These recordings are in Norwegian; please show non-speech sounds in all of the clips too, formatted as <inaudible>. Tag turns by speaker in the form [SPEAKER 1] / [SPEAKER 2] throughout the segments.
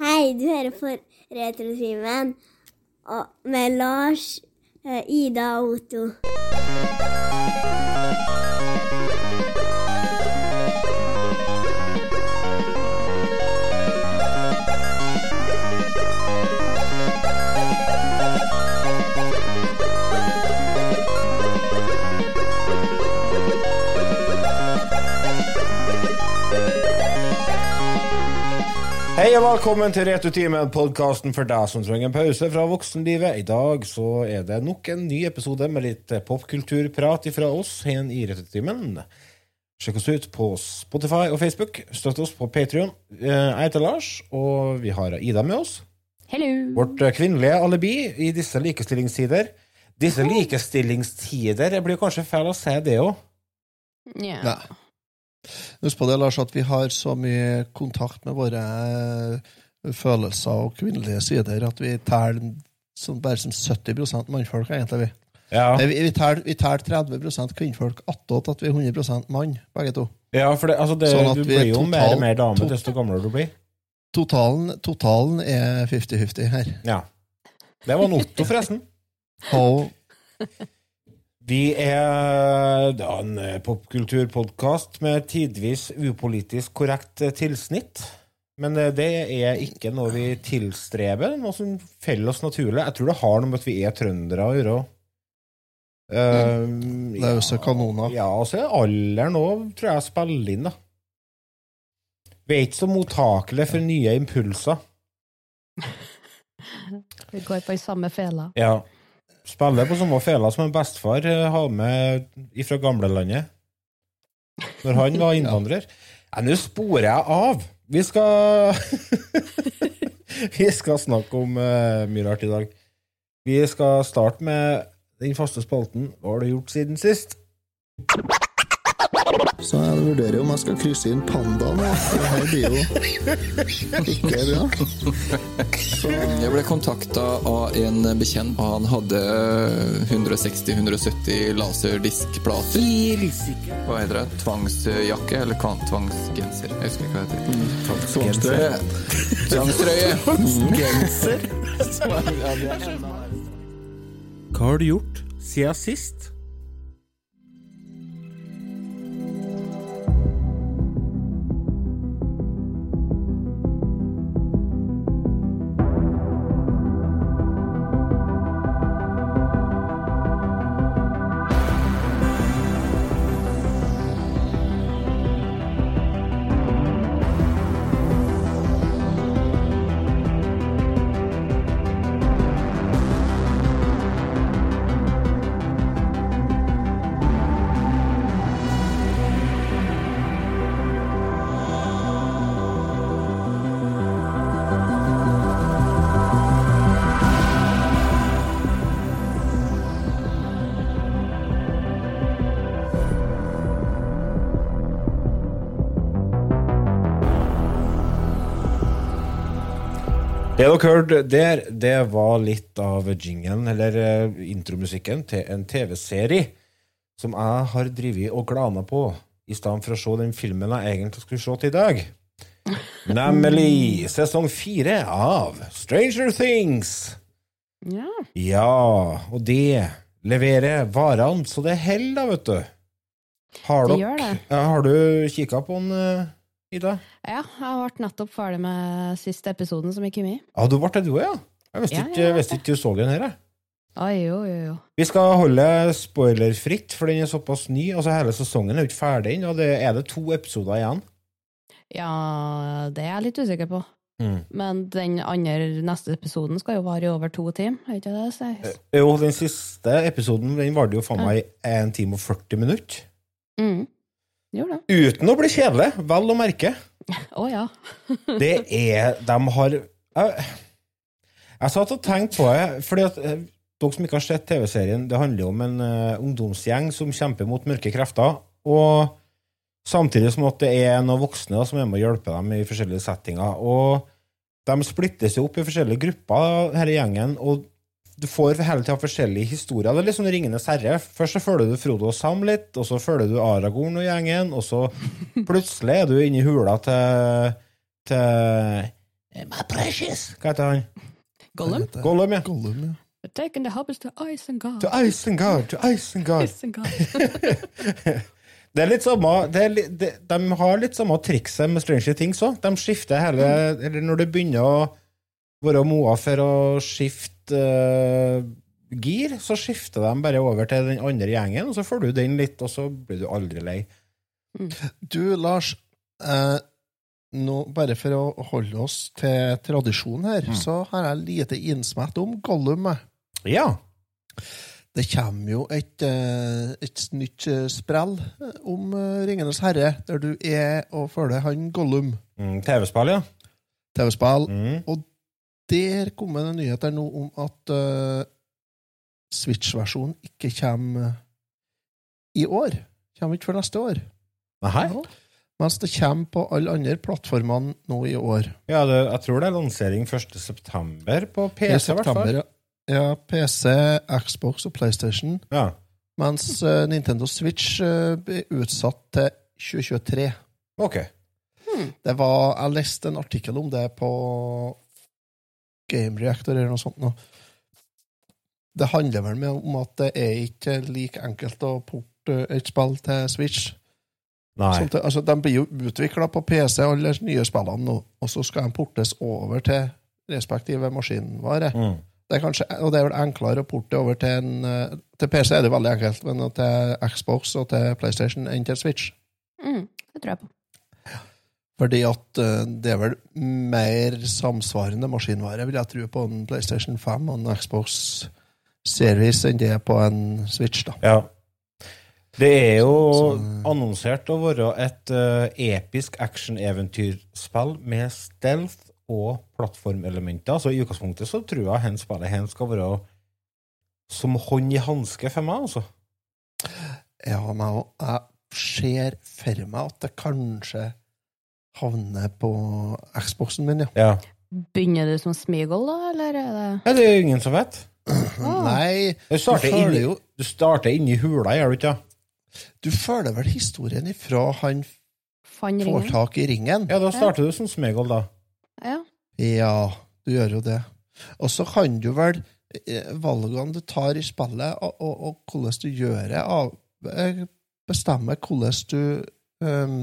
[SPEAKER 1] Hei, du hører på Retrotimen og- med Lars, eh, Ida og Otto.
[SPEAKER 2] Hei og velkommen til Returtimen, podkasten for deg som trenger en pause fra voksenlivet. I dag så er det nok en ny episode med litt eh, popkulturprat ifra oss her i Returtimen. Sjekk oss ut på Spotify og Facebook. Støtt oss på Patrion. Jeg heter Lars, og vi har Ida med oss.
[SPEAKER 3] Hello.
[SPEAKER 2] Vårt eh, kvinnelige alibi i disse likestillingstider. Disse likestillingstider Jeg blir kanskje feil å si det òg.
[SPEAKER 3] Ja.
[SPEAKER 4] Nei. Husk på det, Lars, at vi har så mye kontakt med våre eh, følelser og kvinnelige sider at vi teller som, bare som 70 mannfolk, egentlig. vi.
[SPEAKER 2] Ja.
[SPEAKER 4] Nei, vi, vi teller vi teller 30 kvinnfolk attåt at vi er 100 mann, begge to.
[SPEAKER 2] ja, for det, altså det,
[SPEAKER 4] Sånn at
[SPEAKER 2] du
[SPEAKER 4] vi er
[SPEAKER 2] blir jo mer
[SPEAKER 4] totalt-
[SPEAKER 2] og mer dame
[SPEAKER 4] to-
[SPEAKER 2] desto gamlere du blir.
[SPEAKER 4] Totalen, totalen er 50-50 her.
[SPEAKER 2] Ja. Det var en Otto, forresten.
[SPEAKER 4] Og
[SPEAKER 2] Vi er da en popkulturpodkast med tidvis upolitisk korrekt eh, tilsnitt. Men eh, det er ikke noe vi tilstreber, noe som feller oss naturlig. Jeg tror det har noe med at vi er trøndere å gjøre. Uh,
[SPEAKER 4] løse kanoner.
[SPEAKER 2] Ja, altså alderen òg tror jeg spiller inn, da. Vi er ikke så mottakelige for nye impulser.
[SPEAKER 3] Vi går på i samme fela.
[SPEAKER 2] Ja. Spiller på samme fela som en bestefar eh, har med ifra gamlelandet. Når han var innvandrer. Nei, Nå sporer jeg av! Vi skal <laughs> Vi skal snakke om eh, mye rart i dag. Vi skal starte med den faste spalten. Hva har du gjort siden sist?
[SPEAKER 4] Så jeg vurderer om jeg skal krysse inn pandaen. Det her <laughs> blir jo ikke bra.
[SPEAKER 5] Jeg ble kontakta av en bekjent. og Han hadde eh, 160-170 laserdiskplater. Hva heter det? Tvangsjakke? Eller kan- tvangsgenser? Jeg husker ikke hva det heter. Tvangstrøye. Tvangstrøye.
[SPEAKER 2] Hva har du gjort siden sist? Det dere hørte der, det var litt av jingen, eller eh, intromusikken, til en TV-serie som jeg har drevet og glana på, i stedet for å se den filmen jeg egentlig skulle se til i
[SPEAKER 3] <laughs>
[SPEAKER 2] dag. Nemlig sesong fire av Stranger Things.
[SPEAKER 3] Ja.
[SPEAKER 2] Ja, og det leverer varene, så det holder, da, vet du. Har,
[SPEAKER 3] Det
[SPEAKER 2] dere-
[SPEAKER 3] gjør det.
[SPEAKER 2] Ja, har du kikka på den, eh, Ida?
[SPEAKER 3] ja, jeg ble nettopp ferdig med siste episoden som gikk i mi.
[SPEAKER 2] Ja, du ble det, du òg, ja? Jeg visste
[SPEAKER 3] Ja,
[SPEAKER 2] ikke,
[SPEAKER 3] jeg
[SPEAKER 2] jeg visste ikke du så den her, jeg.
[SPEAKER 3] Oi, jo, jo, jo.
[SPEAKER 2] Vi skal holde spoilerfritt, for den er såpass ny. Altså Hele sesongen er jo ikke ferdig ennå. Det er det to episoder igjen.
[SPEAKER 3] Ja, det er jeg litt usikker på. Men den andre neste episoden skal jo vare i over to timer, er ikke det? Så jeg...
[SPEAKER 2] Jo, den siste episoden den varte jo faen meg i 1 time og 40 minutter.
[SPEAKER 3] mm. Jo da.
[SPEAKER 2] Uten å bli kjedelig, vel å merke.
[SPEAKER 3] Å ja.
[SPEAKER 2] Det er De har Jeg, jeg satt og tenkte på det, fordi at eh, dere som ikke har sett TV-serien, det handler jo om en eh, ungdomsgjeng som kjemper mot mørke krefter, og samtidig som at det er noen voksne da, som er med å hjelpe dem i forskjellige settinger. Og de splittes jo opp i forskjellige grupper, denne gjengen, og du får hele tida forskjellige historier. Det er litt sånn Ringenes herre. Først så følger du Frodo og Sam litt, og så følger du Aragorn og gjengen, og så plutselig er du inne i hula til til eh, My precious. Hva heter han?
[SPEAKER 3] Gollum?
[SPEAKER 2] Gollum, ja.
[SPEAKER 4] Gollum, ja.
[SPEAKER 3] Taken the hobbits to ice and god.
[SPEAKER 2] To Isengard, to Isengard.
[SPEAKER 3] Ice and god.
[SPEAKER 2] Det er litt samme, det er, li- de, de har litt samme trikset med Stranger Things òg. De skifter hele Eller når du begynner å være moa for å skifte eh, gir, så skifter de bare over til den andre gjengen, og så får du den litt, og så blir du aldri lei.
[SPEAKER 4] Du, Lars, eh, nå, bare for å holde oss til tradisjonen her,
[SPEAKER 2] Mm.
[SPEAKER 4] så har jeg lite innsmett om Gollum. jeg.
[SPEAKER 2] Ja.
[SPEAKER 4] Det kommer jo et, eh, et nytt eh, sprell om eh, Ringenes herre, der du er og følger han Gollum.
[SPEAKER 2] Mm, TV-spill, ja.
[SPEAKER 4] TV-spill.
[SPEAKER 2] Mm.
[SPEAKER 4] Der kom det nyheter nå om at eh, Switch-versjonen ikke kommer eh, i år. Kommer ikke før neste år.
[SPEAKER 2] Nei?
[SPEAKER 4] Mens det kommer på alle andre plattformene nå i år.
[SPEAKER 2] Ja, det, jeg tror det er lansering 1. september på
[SPEAKER 4] I
[SPEAKER 2] PC, i hvert
[SPEAKER 4] september.
[SPEAKER 2] fall.
[SPEAKER 4] ja. Ja, PC, Xbox og PlayStation.
[SPEAKER 2] Ja.
[SPEAKER 4] Mens eh, Nintendo Switch eh, blir utsatt til 2023.
[SPEAKER 2] Ok.
[SPEAKER 4] Det var, Jeg leste en artikkel om det på Game Reactor eller noe sånt. Nå. Det handler vel med om at det er ikke like enkelt å porte et spill til Switch.
[SPEAKER 2] Nei.
[SPEAKER 4] Som til, altså, de blir jo utvikla på PC, alle de nye spillene nå, og så skal de portes over til respektive maskinvare.
[SPEAKER 2] Mm.
[SPEAKER 4] Det er kanskje, og det er vel enklere å porte over til en eh, Til PC er det veldig enkelt, men til Xbox og til PlayStation enn til Switch.
[SPEAKER 3] <laughs> Mm, det tror jeg på.
[SPEAKER 4] Fordi at eh, det er vel mer samsvarende maskinvare, vil jeg tro, på en PlayStation 5 og en Xbox Series enn det er på en Switch, da.
[SPEAKER 2] Ja. Det er jo
[SPEAKER 4] Så-
[SPEAKER 2] eh, annonsert å være et eh, episk action-eventyrspill med stealth og plattformelementer. Så i utgangspunktet så tror jeg hen spillet hen skal være som hånd i hanske for meg, altså.
[SPEAKER 4] Ja, men jeg- jeg ser for meg at det kanskje havner på Xboxen min, ja.
[SPEAKER 2] Ja.
[SPEAKER 3] Begynner du som Smeagol, da, eller er det
[SPEAKER 2] <clears throat> ja. Det er jo ingen som vet.
[SPEAKER 3] Ah.
[SPEAKER 4] Nei,
[SPEAKER 2] Du
[SPEAKER 4] du
[SPEAKER 2] starter
[SPEAKER 4] følger
[SPEAKER 2] inni,
[SPEAKER 4] jo
[SPEAKER 2] du starter inni hula, gjør du ikke? det?
[SPEAKER 4] Du følger vel historien ifra han
[SPEAKER 3] Fann
[SPEAKER 4] får
[SPEAKER 3] ringen?
[SPEAKER 4] tak i ringen?
[SPEAKER 2] Ja, da starter du som Smegol, da.
[SPEAKER 3] Ja.
[SPEAKER 4] Ja, du gjør jo det. Og så kan du vel eh, valgene du tar i spillet, og, og, og hvordan du gjør det, av, eh, bestemme hvordan du ehm,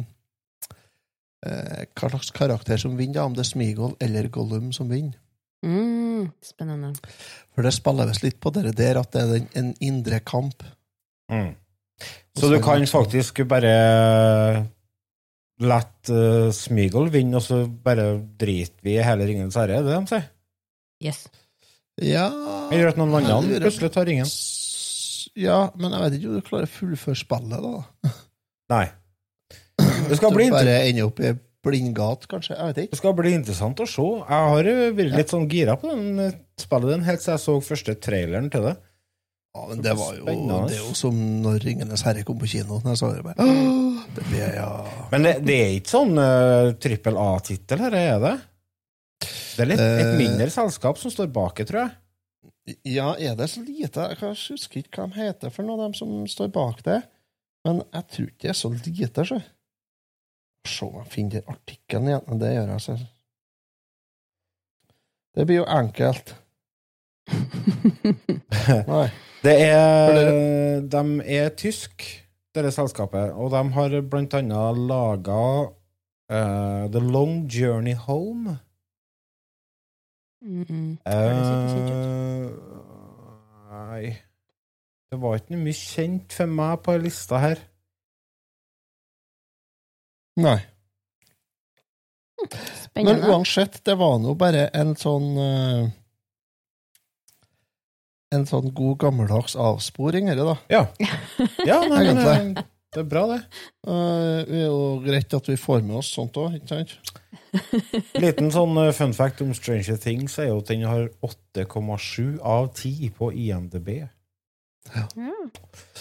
[SPEAKER 4] eh, Hva slags karakter som vinner, da, om det er Smeagol eller Gollum som vinner.
[SPEAKER 3] Mm, spennende.
[SPEAKER 4] For det spiller visst litt på det der at det er den, en indre kamp.
[SPEAKER 2] Mm. Så du kan faktisk bare la uh, Smeagol vinne, og så bare driter vi i hele Ringenes herre? er Det de sier.
[SPEAKER 3] Yes. <laughs>
[SPEAKER 4] Ja
[SPEAKER 2] Eller at noen andre
[SPEAKER 4] Lurer.
[SPEAKER 2] plutselig tar ringen.
[SPEAKER 4] S- Ja, men jeg vet ikke om du klarer å fullføre spillet, da.
[SPEAKER 2] Nei. Det skal,
[SPEAKER 4] Du
[SPEAKER 2] bli inter-
[SPEAKER 4] bare ender opp i blindgat, kanskje. Jeg vet ikke.
[SPEAKER 2] det skal bli interessant å se. Jeg har jo vært litt sånn gira på den eh, spillet den helt siden jeg så første traileren til det.
[SPEAKER 4] Ja, men det var jo
[SPEAKER 2] Spennende.
[SPEAKER 4] Det er jo som når 'Ringenes herre' kom på kino. Når jeg så det bare «Åh, Det ble ja
[SPEAKER 2] Men det, det er ikke sånn eh, trippel A-tittel her, er det? Det er litt, et
[SPEAKER 4] Eh.
[SPEAKER 2] mindre selskap som står bak det, tror jeg.
[SPEAKER 4] Ja, er det så lite Jeg kan- jeg husker ikke hva de heter for noe, de som står bak det. Men jeg tror ikke det er så lite, sjø. Se om jeg finner artikkelen igjen. Men det gjør jeg, så. Det blir jo enkelt. Nei.
[SPEAKER 2] Det er, de er tysk, dette selskapet, og de har blant annet laga The Long Journey Home.
[SPEAKER 3] Mm. det ser ikke kjent
[SPEAKER 2] Eh, Nei Det var ikke noe mye kjent for meg på lista her.
[SPEAKER 4] Nei. Men
[SPEAKER 3] Spennende.
[SPEAKER 4] uansett, det var nå bare en sånn eh, En sånn god gammeldags avsporing, dette, da.
[SPEAKER 2] Ja. ja
[SPEAKER 3] <laughs>
[SPEAKER 2] nei, men,
[SPEAKER 4] Egentlig.
[SPEAKER 2] eh, det er bra, det.
[SPEAKER 4] Eh, Det er jo greit at vi får med oss sånt òg, ikke sant?
[SPEAKER 2] Liten sånn eh, fun fact om Stranger Things er jo at den har 8,7 av 10 på IMDb.
[SPEAKER 3] Ja.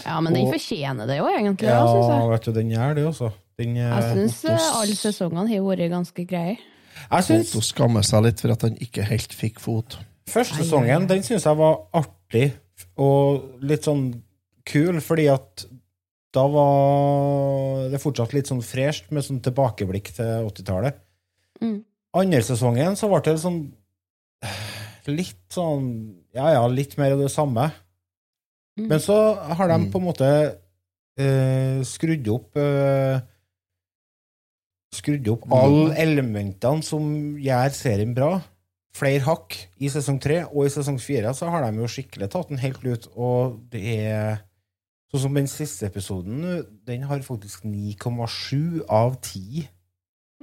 [SPEAKER 3] ja, men den fortjener det jo egentlig,
[SPEAKER 2] Ja,
[SPEAKER 3] ja, syns jeg.
[SPEAKER 2] vet du, den gjør det, altså. Den, eh,
[SPEAKER 3] Jeg syns
[SPEAKER 4] Ottos-
[SPEAKER 3] alle sesongene har vært ganske greie.
[SPEAKER 2] jeg syns
[SPEAKER 4] Otto skammer seg litt for at han ikke helt fikk fot.
[SPEAKER 2] Første
[SPEAKER 3] Ai, ai,
[SPEAKER 2] sesongen
[SPEAKER 3] ai.
[SPEAKER 2] den syns jeg var artig og litt sånn kul, fordi at da var det fortsatt litt sånn fresht med sånn tilbakeblikk til 80-tallet.
[SPEAKER 3] Mm.
[SPEAKER 2] andre sesongen så ble det sånn litt sånn Ja ja, litt mer av det samme.
[SPEAKER 3] Mm.
[SPEAKER 2] Men så har de
[SPEAKER 4] Mm.
[SPEAKER 2] på en måte eh, skrudd opp eh, Skrudd opp alle elementene som gjør serien bra. Flere hakk i sesong tre, og i sesong fire så har de jo skikkelig tatt den helt ut, og det er Sånn som den siste episoden, den har faktisk 9,7 av 10.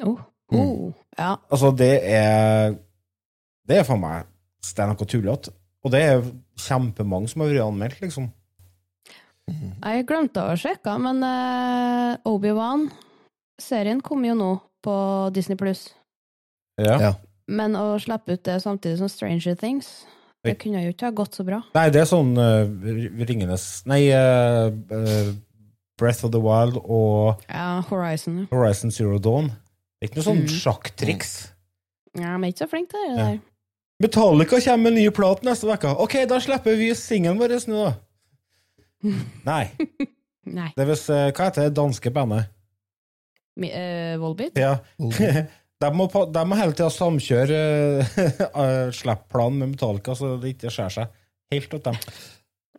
[SPEAKER 3] Oh.
[SPEAKER 4] Mm.
[SPEAKER 3] Oh. Ja.
[SPEAKER 2] Altså, det er Det er for meg stein og tullete. Og det er kjempemange som har vært anmeldt, liksom.
[SPEAKER 3] Jeg glemte å sjekke, men eh, Obi-Wan Serien kom jo nå på Disney Pluss.
[SPEAKER 4] Ja.
[SPEAKER 3] Men å slippe ut det samtidig som Stranger Things Det
[SPEAKER 2] Oi.
[SPEAKER 3] kunne jo ikke ha gått så bra.
[SPEAKER 2] Nei, det er sånn eh, Ringenes Nei, eh, eh, Breath of the Wild og
[SPEAKER 3] Ja, Horizon.
[SPEAKER 2] Horizon Zero Dawn. Det er ikke noe sånn
[SPEAKER 3] Mm.
[SPEAKER 2] sjakktriks.
[SPEAKER 3] Ja, men ikke så flink til det
[SPEAKER 2] Ja.
[SPEAKER 3] der.
[SPEAKER 2] Metallica kommer med ny plat neste uke. OK, da slipper vi singelen vår nå, <laughs> da. Nei.
[SPEAKER 3] Nei.
[SPEAKER 2] Det er hvis, eh, hva heter det danske bandet?
[SPEAKER 3] Mi- eh, Volbeat?
[SPEAKER 2] Ja.
[SPEAKER 4] Mm.
[SPEAKER 2] <laughs> De må, på- de må hele tida samkjøre <laughs> uh, slipp-planen med Metallica, så det ikke skjærer seg helt ut dem.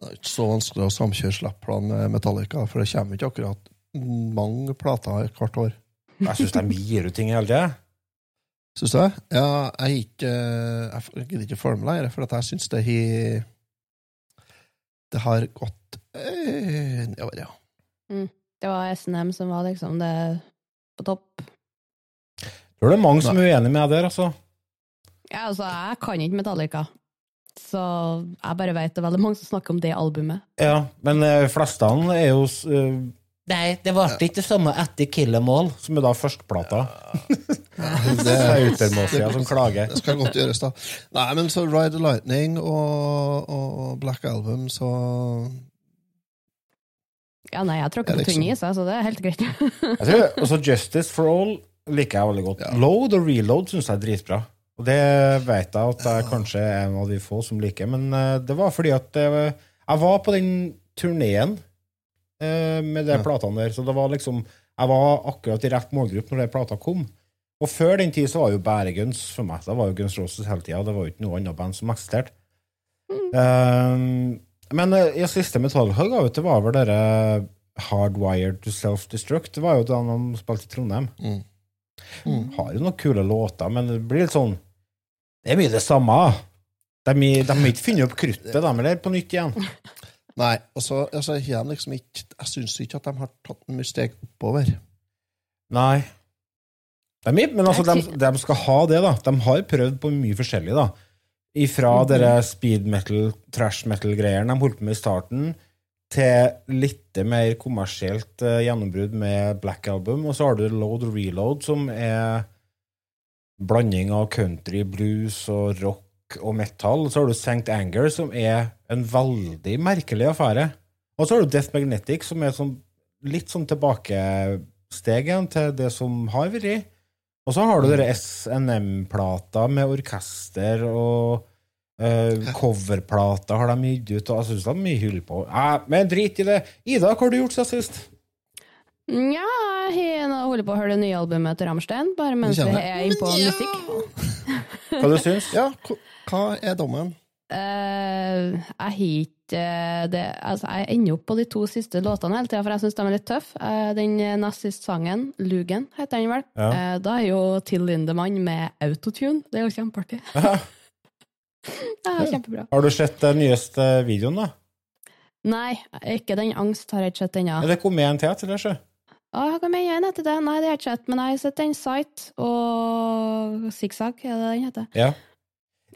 [SPEAKER 4] Det er ikke så vanskelig å samkjøre slappplan med eh, Metallica, for det kommer ikke akkurat mange plater hvert år.
[SPEAKER 2] Jeg syns de gir ut ting hele tida.
[SPEAKER 4] Syns du det? Ja, jeg er ikke Jeg f- jeg gidder ikke å følge med lenger, for at jeg syns det har Det har gått eh, nedover, ja.
[SPEAKER 3] Det var SNM som var liksom det på topp.
[SPEAKER 2] Det er mange som er uenig med deg der, altså.
[SPEAKER 3] Ja, altså, jeg kan ikke Metallica. Så jeg bare vet det er veldig mange som snakker om det albumet.
[SPEAKER 2] Ja, men de fleste er jo eh, Nei, det varte ikke det samme etter Kill Em All, som er da førsteplata. <laughs> Det er utermåsida som klager.
[SPEAKER 4] Det skal godt gjøres, da. Nei, men så Ride the Lightning og, og Black Album, så
[SPEAKER 3] Ja, nei, jeg tråkker
[SPEAKER 4] Ja,
[SPEAKER 3] på
[SPEAKER 4] liksom.
[SPEAKER 3] tynn is, jeg, så det er sånn. helt greit. <laughs>
[SPEAKER 2] Jeg tror, også Justice for All liker jeg veldig godt.
[SPEAKER 4] Ja.
[SPEAKER 2] Load og reload syns jeg er dritbra. Og det vet jeg at jeg kanskje er en av de få som liker, men eh, det var fordi at eh, jeg var på den turneen eh, med de
[SPEAKER 4] Ja.
[SPEAKER 2] platene der, så det var liksom Jeg var akkurat i rett målgruppe når de plata kom. Og før den tid så var jo bare Guns for meg. Det var jo Guns Roses hele tida. Det var jo ikke noe annet band som eksisterte. Eh, men eh, i siste Metallica ga ut, det var vel dere Hardwired to Self-Destruct. Det var jo da de spilte i Trondheim.
[SPEAKER 4] mm. Mm.
[SPEAKER 2] Har jo noen kule låter, men det blir litt sånn Det er mye det samme. De de har ikke funnet opp kruttet, de, eller? På nytt igjen.
[SPEAKER 4] Nei, og så altså, har de liksom ikke Jeg syns ikke at de har tatt mye steg oppover.
[SPEAKER 2] Nei. De, er- men altså, de,
[SPEAKER 3] Jeg
[SPEAKER 2] de skal ha det, da. De har prøvd på mye forskjellig, da. Ifra dere speed metal, trash metal-greiene de holdt på med i starten, til litt mer kommersielt eh, gjennombrudd med Black Album, og så har du Load og Reload, som er blanding av country, blues og rock og metal. Så har du St. Anger, som er en veldig merkelig affære. Og så har du Death Magnetic, som er sånn, litt sånn tilbakesteg igjen til det som har vært. Og så har du
[SPEAKER 3] Mm.
[SPEAKER 2] dere SNM-plata med orkester og uh, coverplata har de gitt ut, og jeg syns de har mye hyll på. Nei, men drit i det. Ida, hva har du gjort siden sist?
[SPEAKER 3] Nja, jeg holder på å høre det nye albumet til Rammstein, bare mens vi
[SPEAKER 4] kjenner
[SPEAKER 3] er inne på musikk.
[SPEAKER 2] Hva du syns?
[SPEAKER 4] Ja, hva- hva er dommen?
[SPEAKER 3] Eh, jeg har ikke eh, det Altså, jeg ender opp på de to siste låtene hele tida, for jeg syns de er litt tøffe. Eh, den eh, nest siste sangen, 'Lugen', heter den vel.
[SPEAKER 2] Ja.
[SPEAKER 3] Eh, da er jo Till Lindemann med autotune. Det er jo kjempeartig. <laughs> det er kjempebra.
[SPEAKER 2] Har du sett den nyeste videoen, da?
[SPEAKER 3] Nei, ikke den angst har jeg ikke sett ennå.
[SPEAKER 2] Er det kommet en til til det, sjø?
[SPEAKER 3] Å, hva mener jeg etter det? Nei, det har jeg ikke sett, men jeg har sett den Sight og Zigzag, er det den heter?
[SPEAKER 2] Ja.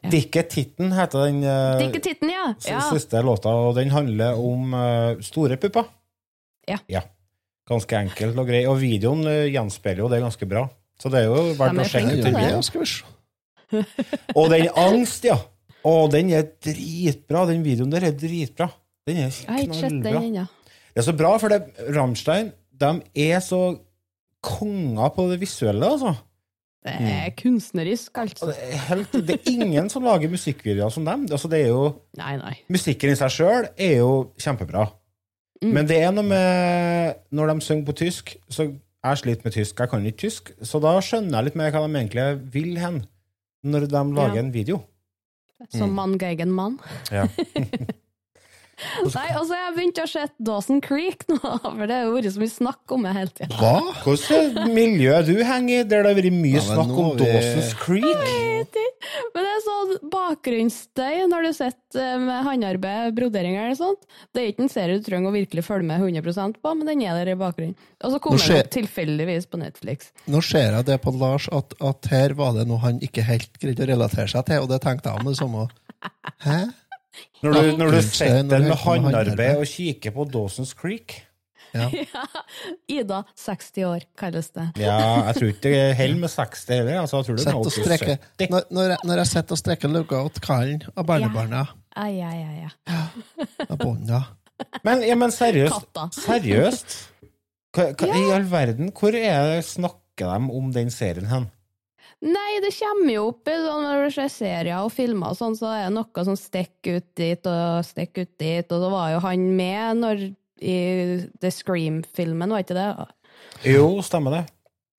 [SPEAKER 3] Ja.
[SPEAKER 2] Dikke Titten heter den eh,
[SPEAKER 3] Dikke titten, ja!
[SPEAKER 2] s-
[SPEAKER 3] ja.
[SPEAKER 2] siste låta, og den handler om eh, store pupper.
[SPEAKER 3] Ja.
[SPEAKER 2] Ganske enkelt og grei. Og videoen eh, gjenspeiler jo det ganske bra. Så det er jo verdt
[SPEAKER 3] De er
[SPEAKER 2] å sjekke
[SPEAKER 3] flinke
[SPEAKER 2] ut
[SPEAKER 3] til
[SPEAKER 2] den
[SPEAKER 3] det.
[SPEAKER 2] videoen.
[SPEAKER 4] Ja, skal vi se.
[SPEAKER 2] Og den angst, ja. Og den er dritbra. Den videoen der er dritbra. Den er
[SPEAKER 3] Jeg har ikke sett den
[SPEAKER 2] knallbra.
[SPEAKER 3] ennå.
[SPEAKER 2] Det er så bra, for det, Rammstein de er så konger på det visuelle, altså.
[SPEAKER 3] Det er kunstnerisk,
[SPEAKER 2] Og
[SPEAKER 3] altså.
[SPEAKER 2] Mm. Det er, helt, det er ingen som lager musikkvideoer som dem. Altså, det er jo,
[SPEAKER 3] Nei, nei.
[SPEAKER 2] musikken i seg sjøl er jo kjempebra.
[SPEAKER 3] Mm.
[SPEAKER 2] Men det er noe med Når de synger på tysk, så Jeg sliter med tysk, jeg kan ikke tysk, så da skjønner jeg litt mer hva de egentlig vil hen, når de lager
[SPEAKER 3] Ja.
[SPEAKER 2] en video.
[SPEAKER 3] Som mann geigen mann.
[SPEAKER 2] Mm. Ja.
[SPEAKER 3] <laughs>
[SPEAKER 2] <laughs>
[SPEAKER 3] Nei, altså, jeg begynte å se Dawson Creek nå, <laughs> for det har jo vært så mye snakk om det hele tida.
[SPEAKER 4] Hva?
[SPEAKER 2] Hvilket miljø du henger i, der det har vært mye
[SPEAKER 4] Ja, men
[SPEAKER 2] snakk
[SPEAKER 4] nå
[SPEAKER 2] om
[SPEAKER 4] er vi-
[SPEAKER 2] Dawson's Creek?
[SPEAKER 3] Men det er sånn bakgrunnsstøy når du sitter eh, med håndarbeid, broderinger eller sånt. Det er ikke en serie du trenger å virkelig følge med 100 på, men den er der i bakgrunnen. Og så kommer
[SPEAKER 4] skjer-
[SPEAKER 3] den opp tilfeldigvis på Netflix. <laughs>
[SPEAKER 4] Nå ser jeg det på Lars, at, at her var det noe han ikke helt greide å relatere seg til, og det tenkte jeg om det samme. Hæ?
[SPEAKER 2] Når du, eh, når du
[SPEAKER 4] Bakgrunnsstøy
[SPEAKER 2] sitter
[SPEAKER 4] når du
[SPEAKER 2] med
[SPEAKER 4] hører på håndarbeid.
[SPEAKER 2] håndarbeid og kikker på Dawson's Creek?
[SPEAKER 3] Ja. Ida, 60 år, kalles det.
[SPEAKER 2] Ja, jeg tror ikke det holder med 60 heller. Altså, jeg tror det er
[SPEAKER 4] Sett og
[SPEAKER 2] opp til
[SPEAKER 4] strekke.
[SPEAKER 2] 70.
[SPEAKER 4] Når, når, jeg, når jeg sitter og strekker lugga til kallen av barnebarna
[SPEAKER 3] Ai, ai, ai, ai.
[SPEAKER 4] av bånda
[SPEAKER 2] Men, ja, men seriøst,
[SPEAKER 3] Katta.
[SPEAKER 2] seriøst hva, hva, I all verden, hvor er det snakker de om den serien hen?
[SPEAKER 3] Nei, det kommer jo opp i sånn, når du ser serier og filmer, og sånn, så er det noe som stikker ut dit og stikker ut dit, og da var jo han med når, i The Scream-filmen, var ikke det?
[SPEAKER 2] Jo, stemmer det.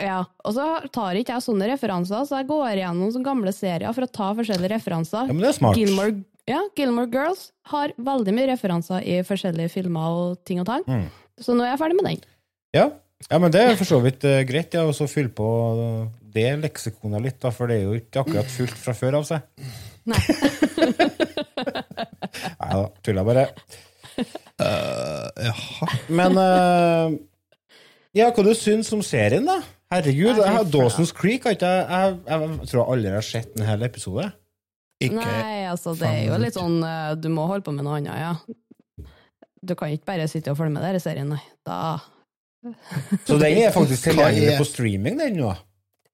[SPEAKER 3] Ja, og så tar ikke jeg sånne referanser, så jeg går igjennom sånne gamle serier for å ta forskjellige referanser.
[SPEAKER 2] Ja, men det er smart.
[SPEAKER 3] Gilmore, ja, Gilmore Girls har veldig mye referanser i forskjellige filmer og ting og tang,
[SPEAKER 2] Mm.
[SPEAKER 3] så nå er jeg ferdig med den.
[SPEAKER 2] Ja. ja, men det er for så vidt eh, greit, ja, og så fylle på eh, det leksikonet litt, da, for det er jo ikke akkurat fullt fra før av seg.
[SPEAKER 3] Nei.
[SPEAKER 2] <laughs> Nei da, tuller bare.
[SPEAKER 4] Øh, Jaha.
[SPEAKER 2] Men eh, Ja, hva du syns om serien, da? Herregud, jeg har Dawson's Creek har ikke jeg, jeg, jeg, jeg tror jeg aldri har sett en hel episode.
[SPEAKER 4] Ikke
[SPEAKER 3] Nei, altså, det er jo litt sånn eh, Du må holde på med noe annet, ja. Du kan ikke bare sitte og følge med der i serien, nei. Da.
[SPEAKER 2] Så den er faktisk
[SPEAKER 4] Hva er-
[SPEAKER 2] tilgjengelig på streaming, den nå.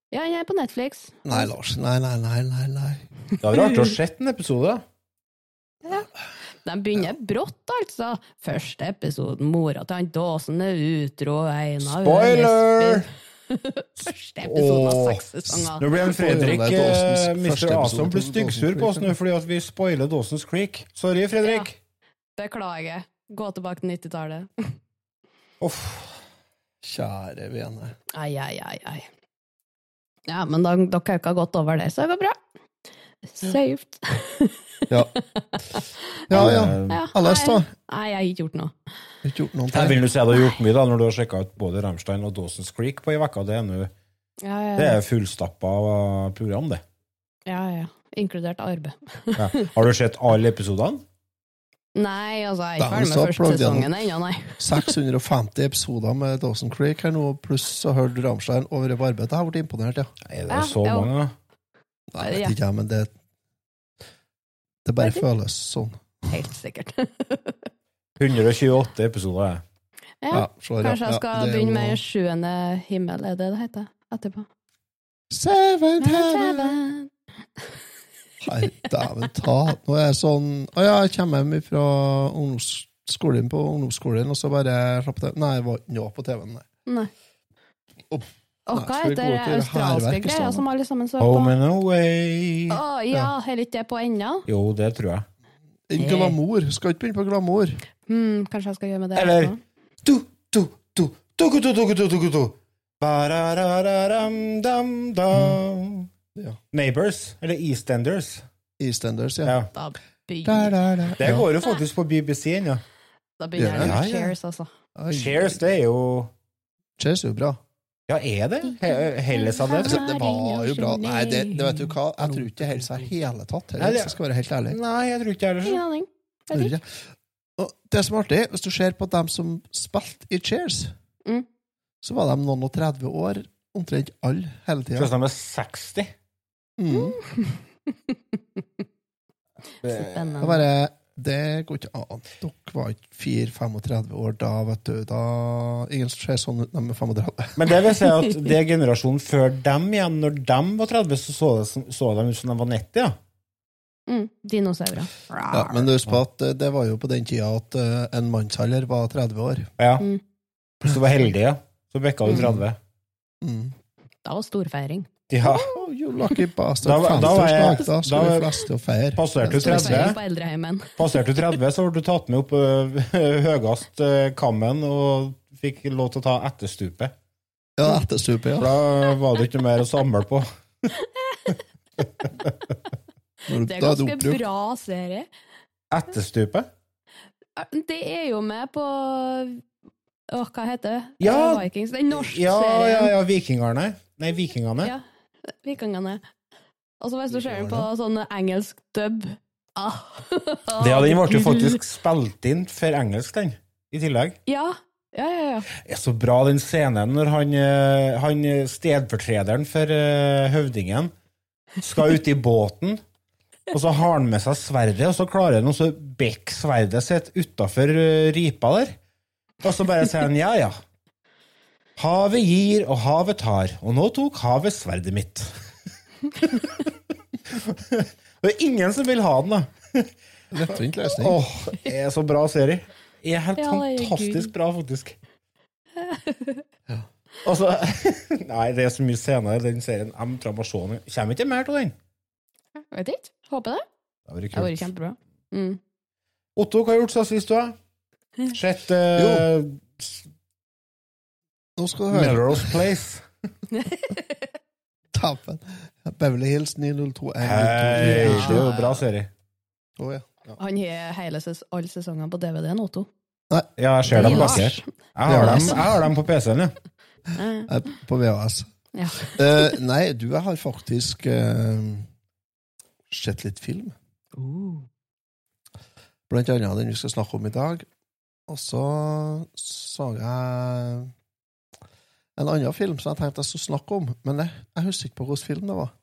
[SPEAKER 3] Ja, jeg er på Netflix.
[SPEAKER 4] Nei, Lars. Nei, nei, nei. nei, nei.
[SPEAKER 2] Det hadde vært artig å sett en episode. da.
[SPEAKER 3] De begynner brått, altså. Første episoden, mora til han Dawson er utro, en av
[SPEAKER 2] Spoiler!
[SPEAKER 3] <laughs> Første episoden av seks
[SPEAKER 2] Nå
[SPEAKER 3] sesonger.
[SPEAKER 2] blir en Fredrik
[SPEAKER 4] Spoiler, det er
[SPEAKER 2] eh,
[SPEAKER 4] Dawson's
[SPEAKER 2] Mr.
[SPEAKER 4] første
[SPEAKER 2] Asom
[SPEAKER 4] episode
[SPEAKER 2] blir
[SPEAKER 4] til
[SPEAKER 2] styggsur på liksom. oss nå fordi at vi spoiler Dawson's Creek. Sorry, Fredrik.
[SPEAKER 3] Beklager. Gå tilbake til 90-tallet.
[SPEAKER 2] Uff.
[SPEAKER 4] Kjære vene.
[SPEAKER 3] Ai, ai, ai, ai. Ja, men da- dere har jo ikke gått over det, så det går bra. Saved.
[SPEAKER 4] Ja. Ja, ja.
[SPEAKER 2] Eh,
[SPEAKER 3] Ja,
[SPEAKER 4] Alles, da.
[SPEAKER 3] nei, Nei, jeg har ikke gjort noe.
[SPEAKER 4] Ikke gjort noen
[SPEAKER 2] Jeg
[SPEAKER 4] ting.
[SPEAKER 2] vil jo si at du har gjort mye da når du har sjekka ut både Rammstein og Dawson's Creek på ei uke. Det er nå-
[SPEAKER 3] Ja, ja,
[SPEAKER 2] det
[SPEAKER 3] ja.
[SPEAKER 2] er fullstappa program, det.
[SPEAKER 3] ja, ja. Inkludert arbeid.
[SPEAKER 2] Ja. Har du sett alle episodene?
[SPEAKER 3] Nei, altså, jeg er
[SPEAKER 4] Da
[SPEAKER 3] ikke ferdig
[SPEAKER 4] så
[SPEAKER 3] med første
[SPEAKER 4] plagde jeg
[SPEAKER 3] sesongen ennå, nei.
[SPEAKER 4] 650 episoder med Dawson Creek her nå, pluss så hørte du Rammstein over i arbeid. Jeg har vært imponert, ja.
[SPEAKER 2] Nei, det
[SPEAKER 3] Ja,
[SPEAKER 2] er så
[SPEAKER 3] jo.
[SPEAKER 2] mange. da.
[SPEAKER 4] Nei, jeg vet ikke, jeg, men det Det bare føles sånn.
[SPEAKER 3] Helt sikkert. <laughs>
[SPEAKER 2] 128 episoder. jeg.
[SPEAKER 3] Ja,
[SPEAKER 4] Ja, sorry, ja.
[SPEAKER 3] Kanskje jeg
[SPEAKER 4] Ja,
[SPEAKER 3] skal
[SPEAKER 4] det er
[SPEAKER 3] begynne
[SPEAKER 4] jo-
[SPEAKER 3] med Sjuende himmel, er det det heter?
[SPEAKER 4] <laughs>
[SPEAKER 3] Etterpå.
[SPEAKER 4] Seven heaven Nei, dæven ta. Nå er jeg sånn Å ja, jeg kommer hjem fra ungdomsskolen på ungdomsskolen, og så bare slapp det Nei, jeg var ikke nå på TV-en, nei.
[SPEAKER 3] Nei.
[SPEAKER 4] Opp.
[SPEAKER 3] Og
[SPEAKER 4] Nei,
[SPEAKER 3] hva
[SPEAKER 4] skal vi gå
[SPEAKER 3] heter det
[SPEAKER 4] til Oh,
[SPEAKER 3] australske
[SPEAKER 4] hærverk i
[SPEAKER 3] greia
[SPEAKER 4] stedet?
[SPEAKER 3] som alle sammen så på?
[SPEAKER 2] Home and away.
[SPEAKER 3] Å ja, heller ikke det på ennå?
[SPEAKER 2] Jo, det tror jeg.
[SPEAKER 4] Glamour. Skal ikke begynne på glamour.
[SPEAKER 3] Hmm, kanskje jeg skal gjøre med det?
[SPEAKER 2] Eller
[SPEAKER 3] etterpå.
[SPEAKER 2] du, du, du, dugu, du, dugu, du, dugu, du. Bararararam, dam, dam.
[SPEAKER 4] Ja.
[SPEAKER 2] Neighbors, eller Eastenders.
[SPEAKER 4] EastEnders, ja.
[SPEAKER 2] Ja.
[SPEAKER 3] Da
[SPEAKER 4] Der,
[SPEAKER 3] begynner,
[SPEAKER 4] der, der.
[SPEAKER 2] Det
[SPEAKER 4] Ja.
[SPEAKER 2] går jo faktisk på BBC ennå.
[SPEAKER 3] da begynner
[SPEAKER 2] Ja,
[SPEAKER 3] jeg med
[SPEAKER 2] ja.
[SPEAKER 3] Cheers, altså.
[SPEAKER 4] Ai,
[SPEAKER 2] Cheers, det er jo
[SPEAKER 4] Cheers er jo bra.
[SPEAKER 2] Ja, er det? He- Helles av det?
[SPEAKER 4] Altså, det var jo bra. Nei, det, det vet du hva, jeg tror ikke det holder seg i hele tatt.
[SPEAKER 2] Nei,
[SPEAKER 4] Heller,
[SPEAKER 2] det-
[SPEAKER 4] hvis jeg skal være helt ærlig.
[SPEAKER 2] Nei, jeg tror ikke jeg
[SPEAKER 3] Ingen
[SPEAKER 2] heller.
[SPEAKER 3] aning.
[SPEAKER 4] Tror ikke. Og det som er artig, hvis du ser på dem som spilte i Cheers,
[SPEAKER 3] Mm.
[SPEAKER 4] så var de noen og 30 år, omtrent alle, hele
[SPEAKER 2] Jeg tror
[SPEAKER 4] tida.
[SPEAKER 2] de er 60.
[SPEAKER 4] Mm.
[SPEAKER 3] <laughs>
[SPEAKER 4] Det
[SPEAKER 3] Spennende.
[SPEAKER 4] var bare Det går ikke an. Dere var ikke 4-35 år da, vet du. Da Ingen ser sånn ut når de er 35.
[SPEAKER 2] Men det vil si at det er generasjonen før dem igjen. Når dem var 30, så så, det, som- så de ut som de var 90, ja.
[SPEAKER 3] Mm, dinosaurer.
[SPEAKER 4] Ja, men husk på at eh, det var jo på den tida at eh, en mannsalder var 30 år.
[SPEAKER 2] ja.
[SPEAKER 3] Mm.
[SPEAKER 2] Hvis du var heldig, ja. Så bikka du 30.
[SPEAKER 4] Mm.
[SPEAKER 3] Da var storfeiring.
[SPEAKER 2] Ja.
[SPEAKER 4] Oh, you lucky bastard.
[SPEAKER 2] Da var- da var jeg-
[SPEAKER 4] 50-årsdag, da
[SPEAKER 2] da
[SPEAKER 4] skal
[SPEAKER 2] var-
[SPEAKER 4] de fleste og feire.
[SPEAKER 2] Passerte du 30?
[SPEAKER 3] Storfeiring på eldreheimen.
[SPEAKER 2] Passerte du 30, så ble du tatt med opp øh, ø, høyest ø, kammen og fikk lov til å ta etterstupet.
[SPEAKER 4] Ja, etterstupe,
[SPEAKER 2] For
[SPEAKER 4] ja.
[SPEAKER 2] da var det ikke noe mer å samle på.
[SPEAKER 4] Når du-
[SPEAKER 3] Det er
[SPEAKER 4] da er det
[SPEAKER 3] ganske
[SPEAKER 4] oppbrukt.
[SPEAKER 3] bra serie.
[SPEAKER 2] Etterstupet?
[SPEAKER 3] Eh, Det er jo med på Åh, hva heter det?
[SPEAKER 2] Ja.
[SPEAKER 3] Eh, Vikings. Den norske
[SPEAKER 2] Ja, ja,
[SPEAKER 3] serien.
[SPEAKER 2] ja, vikingerne. Nei, vikingene.
[SPEAKER 3] Ja. Vikingene. Og så hvis du ser den på sånn engelsk dub ah.
[SPEAKER 2] <laughs> Det, ja, den ble
[SPEAKER 3] Mm.
[SPEAKER 2] jo faktisk spilt inn for engelsk, den. I tillegg.
[SPEAKER 3] <laughs> Ja. Ja, ja, ja.
[SPEAKER 2] Det er så bra den scenen når han, eh, han eh, stedfortrederen for eh, høvdingen skal ut i båten, og så har han med seg sverdet, og så klarer han også å bekke sverdet sitt utafor eh, ripa der. Og så bare sier han ja, ja. Havet gir, og havet tar, og nå tok havet sverdet mitt. <laughs> det er ingen som vil ha den, da.
[SPEAKER 4] Lettvint løsning.
[SPEAKER 2] Åh, det er <laughs> så bra serie. Det er helt
[SPEAKER 3] Ja, det er
[SPEAKER 2] fantastisk
[SPEAKER 3] gud.
[SPEAKER 2] bra,
[SPEAKER 3] <laughs>
[SPEAKER 2] faktisk. Altså, <laughs> nei, det er så mye senere i den serien. Jeg må fram og se den. Kommer ikke mer til den.
[SPEAKER 3] Vet ikke. Håper det.
[SPEAKER 2] Det hadde vært
[SPEAKER 3] Det har vært
[SPEAKER 2] kult.
[SPEAKER 3] kjempebra. Mm. <laughs>
[SPEAKER 2] Otto, hva har du gjort siden sist du har?
[SPEAKER 3] Eh.
[SPEAKER 2] Sett uh,
[SPEAKER 4] Nå skal du høre.
[SPEAKER 2] Melrose Place.
[SPEAKER 4] Tappen. Beverly Hills 902.
[SPEAKER 2] Hei, det er jo en bra serie.
[SPEAKER 4] Å, ja. Ja.
[SPEAKER 3] Han har hele ses alle sesongene på DVD-en, Otto.
[SPEAKER 2] Ja, jeg ser dem
[SPEAKER 3] Lars.
[SPEAKER 2] bak her. Jeg har dem, jeg har dem på PC-en, ja.
[SPEAKER 3] Eh,
[SPEAKER 4] Eh, På VHS.
[SPEAKER 3] Ja.
[SPEAKER 4] <laughs> Eh, nei, du, jeg har faktisk eh, sett litt film.
[SPEAKER 2] Uh.
[SPEAKER 4] Blant annet den vi skal snakke om i dag. Og så så jeg en annen film som jeg tenkte jeg skulle snakke om, men jeg, jeg husker ikke på hvilken film det var.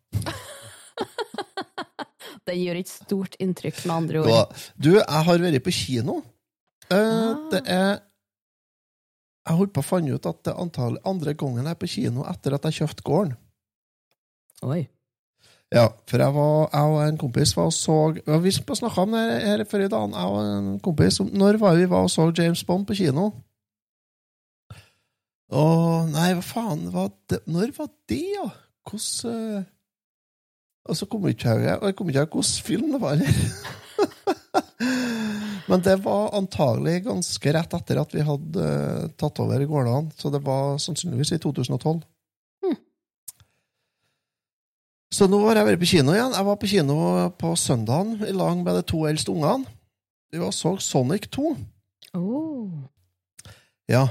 [SPEAKER 3] Den gjør ikke stort inntrykk, med andre
[SPEAKER 4] det
[SPEAKER 3] ord.
[SPEAKER 4] var. Du, jeg har vært på kino. Eh,
[SPEAKER 3] Ah.
[SPEAKER 4] Det er Jeg holdt på å finne ut at det er antall andre gangen jeg er på kino etter at jeg kjøpte gården.
[SPEAKER 3] Oi.
[SPEAKER 4] Ja, for jeg, var, jeg og en kompis var og så ja, Vi snakka om det her- her forrige dagen, jeg og en kompis. om Når var vi var og så James Bond på kino? Å, nei, hva faen hva det, Når var det, ja? Hvordan eh, Og så kom jeg ikke til Og jeg kom ikke til hvilken film det var. <laughs> Men det var antagelig ganske rett etter at vi hadde eh, tatt over gårdene. Så det var sannsynligvis i 2012. Så nå har jeg vært på kino igjen. Jeg var på kino på søndagen i lag med de to eldste ungene. Vi var og så Sonic 2.
[SPEAKER 3] Oh.
[SPEAKER 4] Ja.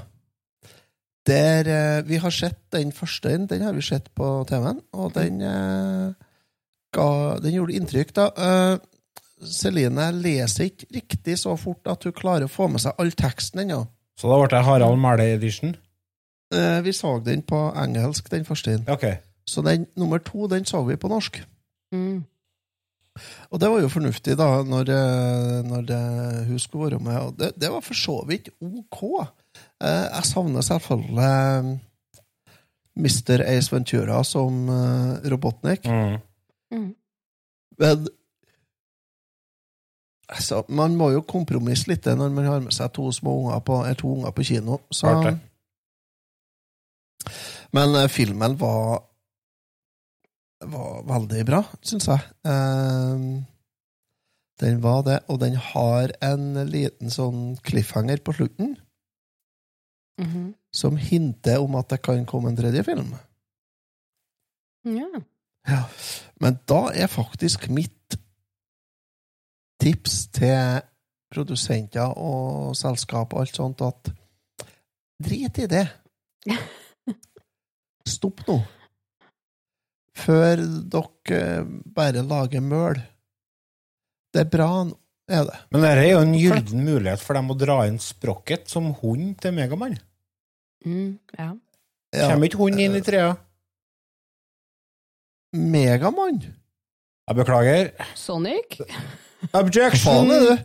[SPEAKER 4] Der eh, Vi har sett den første, den har vi sett på TV-en, og den eh, ga, Den gjorde inntrykk, da. Eh, Celine leser ikke riktig så fort at hun klarer å få med seg all teksten ennå.
[SPEAKER 2] Så da ble det Harald Mæhle-edition.
[SPEAKER 4] Eh, vi så den på engelsk, den første.
[SPEAKER 2] Ok.
[SPEAKER 4] Så den nummer to, den så vi på norsk.
[SPEAKER 3] Mm.
[SPEAKER 4] Og det var jo fornuftig, da, når, eh, når det, hun skulle være med. Og det, det var for så vidt OK. Eh, Jeg savner selvfølgelig eh, Mr. Ace Ventura som eh, Robotnik.
[SPEAKER 2] Mm.
[SPEAKER 3] Mm.
[SPEAKER 4] Men altså, man må jo kompromisse litt eh, når man har med seg to små unger på, eh, to unger på kino. Så.
[SPEAKER 2] Klart det.
[SPEAKER 4] Men eh, filmen var var veldig bra, syns jeg. Eh, den var det, og den har en liten sånn cliffhanger på slutten
[SPEAKER 3] Mhm.
[SPEAKER 4] som hinter om at det kan komme en tredje film.
[SPEAKER 3] Ja.
[SPEAKER 4] Men da er faktisk mitt tips til produsenter og selskap og alt sånt at drit i det. Stopp nå. Før dere bare lager møl. Det er bra, nå, er det.
[SPEAKER 2] Men dette er jo en gylden mulighet for dem å dra inn Sprocket som hund til Megamann.
[SPEAKER 3] Mm. ja.
[SPEAKER 4] Ja.
[SPEAKER 2] Kommer ikke hunden inn i trærne?
[SPEAKER 4] Megamann!
[SPEAKER 2] Jeg beklager.
[SPEAKER 3] Sonic?
[SPEAKER 4] Hva faen er du?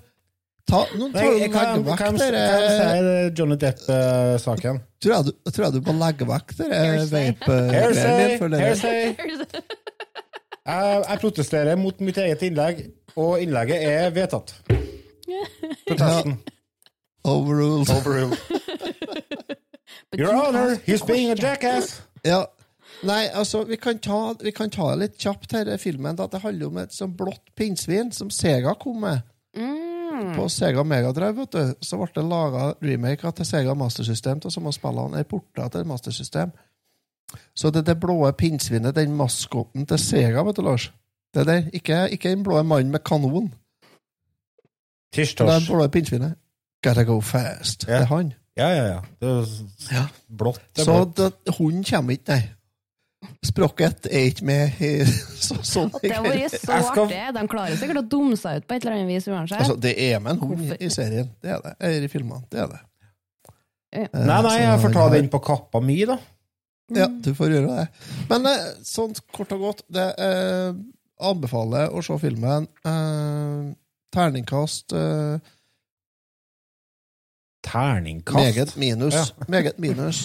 [SPEAKER 4] Ta, nå
[SPEAKER 2] Nei,
[SPEAKER 4] tror jeg
[SPEAKER 2] jeg
[SPEAKER 4] du
[SPEAKER 2] kan,
[SPEAKER 4] legger
[SPEAKER 2] kan,
[SPEAKER 4] vekk
[SPEAKER 2] kan, kan
[SPEAKER 4] det
[SPEAKER 2] si
[SPEAKER 4] der-
[SPEAKER 2] det eh, Johnny eh, Depp-saken.
[SPEAKER 4] tror jeg du- tror jeg du må legge vekk det der
[SPEAKER 3] Hearsay.
[SPEAKER 4] vape-greiene
[SPEAKER 2] Hearsay!
[SPEAKER 4] dine, for det der-
[SPEAKER 2] hearsay. Jeg, jeg protesterer mot mitt eget innlegg, og innlegget er vedtatt. Protesten.
[SPEAKER 4] Overruled.
[SPEAKER 2] Your Honor, he's being a jackass!
[SPEAKER 4] <laughs> Ja. Nei, altså, vi kan, ta, vi kan ta litt kjapt her, eh, filmen. Da. Det handler om et sånt blått pinnsvin som Sega kom med.
[SPEAKER 3] <laughs> Mm.
[SPEAKER 4] På Sega Megadrive, vet du. Så ble det laga remaker til Sega Master System av samme spillene. Er porta til Master System. Så det er det blå pinnsvinet, den maskoten til Sega, vet du, Lars. Det er der. Ikke, ikke den blå mannen med kanon. Det er
[SPEAKER 2] Tirsdags.
[SPEAKER 4] den blå pinnsvinet. Gotta go fast.
[SPEAKER 2] Ja.
[SPEAKER 4] Det er han.
[SPEAKER 2] Ja, ja, ja. Det er s-
[SPEAKER 4] Ja.
[SPEAKER 2] blått. Det er
[SPEAKER 4] Så
[SPEAKER 2] blått.
[SPEAKER 4] det, hunden kommer ikke, nei. Sprocket er ikke med i <laughs> så, sånn.
[SPEAKER 3] Det hadde vært så
[SPEAKER 2] Jeg skal-
[SPEAKER 3] artig. De klarer sikkert å dumme seg ut på et eller annet vis uansett.
[SPEAKER 4] Altså, det er med en hund
[SPEAKER 3] Hvorfor?
[SPEAKER 4] i serien. Det er det. Eller i filmene. Det er det.
[SPEAKER 3] Ja.
[SPEAKER 4] Eh,
[SPEAKER 2] Nei, nei,
[SPEAKER 4] så
[SPEAKER 2] jeg får ta
[SPEAKER 4] har-
[SPEAKER 2] den på kappa mi, da.
[SPEAKER 3] Mm.
[SPEAKER 4] Ja, du får gjøre det. Men eh, sånn kort og godt det eh, anbefaler å se filmen. Eh, terningkast eh,
[SPEAKER 2] Terningkast. <laughs>
[SPEAKER 4] meget minus. Meget minus.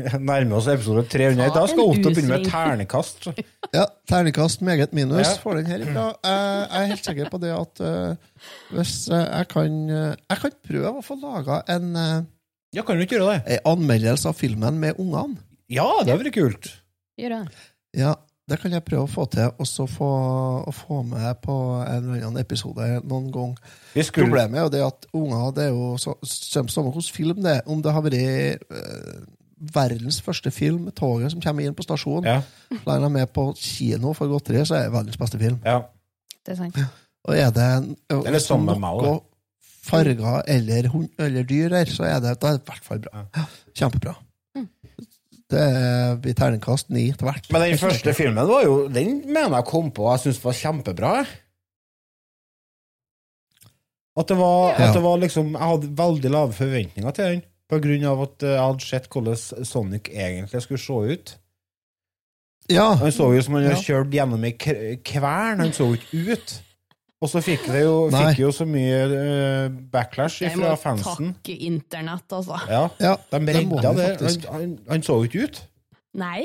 [SPEAKER 2] Nærmer oss episode 300. Da skal jeg opp til å begynne med
[SPEAKER 3] Faen,
[SPEAKER 2] ternekast.
[SPEAKER 4] Ja, terningkast meget minus
[SPEAKER 2] Ja.
[SPEAKER 4] får den her ifra. Jeg, jeg er helt sikker på det at eh, hvis eh, jeg kan eh, Jeg kan prøve å få laga en, eh,
[SPEAKER 2] Ja, kan du ikke gjøre det?
[SPEAKER 4] en anmeldelse av filmen med ungene.
[SPEAKER 2] Ja, det hadde vært kult.
[SPEAKER 3] Gjør det.
[SPEAKER 4] Ja, det kan jeg prøve å få til, og så få, å få med på en eller annen episode noen gang.
[SPEAKER 2] Vi skulle
[SPEAKER 4] Problemet er jo det at unger det er jo så, kommer samme hos film, det. Om det har vært eh, verdens første film, toget som kommer inn på stasjonen,
[SPEAKER 2] Ja.
[SPEAKER 4] lar dem med på kino for godteri, så er det verdens beste film.
[SPEAKER 2] ja.
[SPEAKER 3] Det er sant.
[SPEAKER 4] Og er det en- og
[SPEAKER 2] Eller sammen med meg,
[SPEAKER 4] noe farger eller, hund, eller dyr her, så er det, da er det i hvert fall bra. Ja, Kjempebra. Det blir terningkast ni til hvert.
[SPEAKER 2] Men den første filmen var jo Den mener jeg kom på og jeg syns var kjempebra. jeg. At det, var,
[SPEAKER 4] Ja.
[SPEAKER 2] at det var liksom Jeg hadde veldig lave forventninger til den. På grunn av at eh, jeg hadde sett hvordan Sonic egentlig skulle se ut.
[SPEAKER 4] Ja,
[SPEAKER 2] Han så jo som han
[SPEAKER 4] Ja.
[SPEAKER 2] hadde kjørt gjennom ei k- kvern. Han så jo ikke ut. Og så fikk det jo,
[SPEAKER 4] Nei.
[SPEAKER 2] fikk jo så mye eh, backlash
[SPEAKER 3] Jeg
[SPEAKER 2] fra fansen.
[SPEAKER 3] takke internett, altså.
[SPEAKER 2] Ja,
[SPEAKER 4] ja,
[SPEAKER 2] de
[SPEAKER 4] det må
[SPEAKER 2] redda
[SPEAKER 4] vi
[SPEAKER 2] det. Han,
[SPEAKER 4] faktisk.
[SPEAKER 2] han, han så jo ikke ut.
[SPEAKER 3] Nei,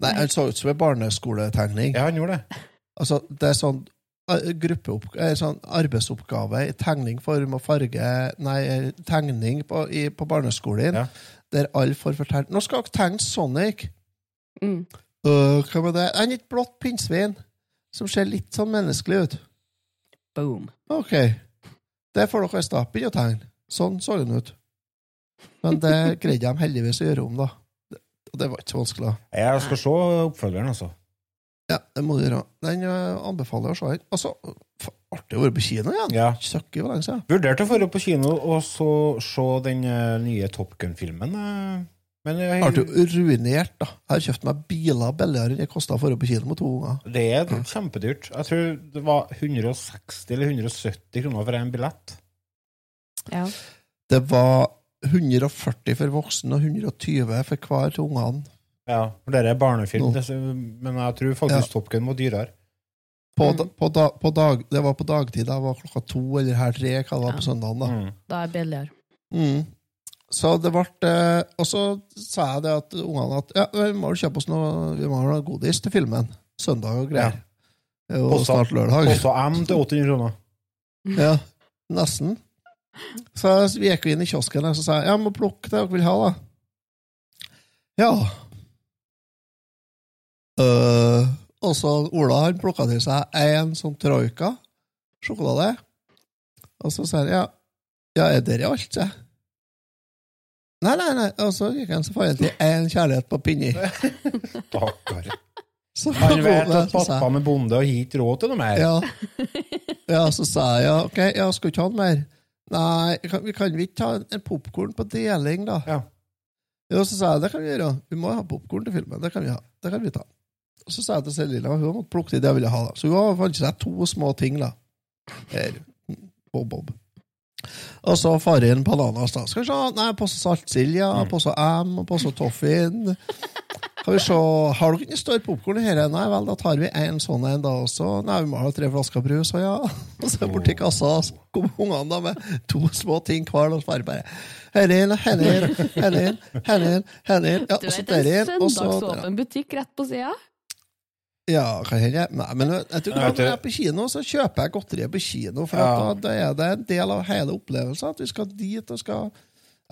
[SPEAKER 4] Nei, Han så ut som en barneskoletegning.
[SPEAKER 2] Ja, han gjorde det.
[SPEAKER 4] Altså, det er sånn eh, gruppeopp... eh, Sånn arbeidsoppgave i tegning, form og farge Nei, eh, tegning på, i, på barneskolen,
[SPEAKER 2] Ja.
[SPEAKER 4] der alle får fortalt Nå skal dere tegne Sonic!
[SPEAKER 3] Mm.
[SPEAKER 4] Øh, hva var det? En litt blått pinnsvin som ser litt sånn menneskelig ut.
[SPEAKER 3] boom.
[SPEAKER 4] Ok, det får dere visst, da. Begynn å tegne. Sånn så den ut. Men det greide de heldigvis å gjøre om, da. Det- Og det var ikke så vanskelig. da.
[SPEAKER 2] Jeg skal se oppfølgeren, altså.
[SPEAKER 4] Ja, det må du gjøre. Den eh, anbefaler jeg å se. den. Altså, fa- artig å være på kino igjen.
[SPEAKER 2] Ja.
[SPEAKER 4] Søkker hvor lenge siden.
[SPEAKER 2] Vurderte å dra på kino og så se den eh, nye Top Gun-filmen. eh, Men jeg,
[SPEAKER 4] Jeg ble jo ruinert, da. Jeg har kjøpt meg biler billigere enn det kosta for å på kino med to unger.
[SPEAKER 2] det er kjempedyrt. Jeg tror det var 160 eller 170 kroner for en billett.
[SPEAKER 3] Ja.
[SPEAKER 4] Det var 140 for voksne og 120 for hver til ungene.
[SPEAKER 2] Ja, for det er barnefilm,
[SPEAKER 4] Nå.
[SPEAKER 2] det- men jeg tror faktisk Top Gun var dyrere.
[SPEAKER 4] På,
[SPEAKER 3] Mm.
[SPEAKER 4] da, på, da, på dag, det var på dagtid. Det var klokka to eller her tre, hva det var
[SPEAKER 3] Ja.
[SPEAKER 4] på søndagen. da.
[SPEAKER 2] Mm.
[SPEAKER 3] Da er det billigere.
[SPEAKER 4] Mm. Så det ble eh, Og så sa jeg det at ungene at ja, vi må jo kjøpe oss noe, vi må ha noe godis til filmen. Søndag og greier. Det er jo
[SPEAKER 2] Også-
[SPEAKER 4] snart lørdag.
[SPEAKER 2] Også M til 800 kroner.
[SPEAKER 4] Ja, nesten. Så vi gikk jo inn i kiosken og så sa jeg, ja, må plukke det dere vil ha, da. Ja. Øh, og så Ola han plukka til seg en sånn troika sjokolade. Og så sa han ja, ja er det alt, sa jeg. Nei, nei, nei. Og så gikk han så fant han til én kjærlighet på pinni.
[SPEAKER 2] Stakkar.
[SPEAKER 4] Så
[SPEAKER 2] Han vet
[SPEAKER 4] <laughs> kom det,
[SPEAKER 2] at
[SPEAKER 4] så sa jeg,
[SPEAKER 2] pappaen er bonde og har ikke råd til noe mer.
[SPEAKER 4] Ja. ja, så sa jeg ja, ok, ja, skal vi ikke ha den mer? Nei, kan, vi kan vi ikke ta en, en popkorn på deling, da?
[SPEAKER 2] Ja.
[SPEAKER 4] Jo, så sa jeg det kan vi gjøre. Vi må ha popkorn til filmen. Det kan vi ha. Det kan vi ta. Og så sa jeg til Selina hun måtte plukke det jeg ville ha. da. Så hun har fant seg to små ting. da. Her. Bob, bob. Og så far inn bananas. da. Skal vi se, nei, Passe saltsilja,
[SPEAKER 2] Mm.
[SPEAKER 4] passe M, passe toffin. Kan vi se, Har dere ikke større popkorn her? Nei vel, da tar vi en sånn en, da også. Nei, vi må ha tre flasker brus, og ja. <laughs> Og så borti kassa så kom ungene da med to små ting hver, og så bare bare Henne inn, henne inn, henne inn, henne inn. henne inn, ja,
[SPEAKER 3] Du
[SPEAKER 4] og så
[SPEAKER 3] vet,
[SPEAKER 4] der
[SPEAKER 3] en
[SPEAKER 4] inn, og så der.
[SPEAKER 3] søndagsåpen butikk rett på sida.
[SPEAKER 4] Ja, kan hende. Nei, men jeg
[SPEAKER 2] Nei, vet
[SPEAKER 4] tror ikke at
[SPEAKER 2] du-
[SPEAKER 4] når jeg er på kino, så kjøper jeg godteriet på kino. For
[SPEAKER 2] Ja.
[SPEAKER 4] at da, da er det en del av hele opplevelsen at vi skal dit og skal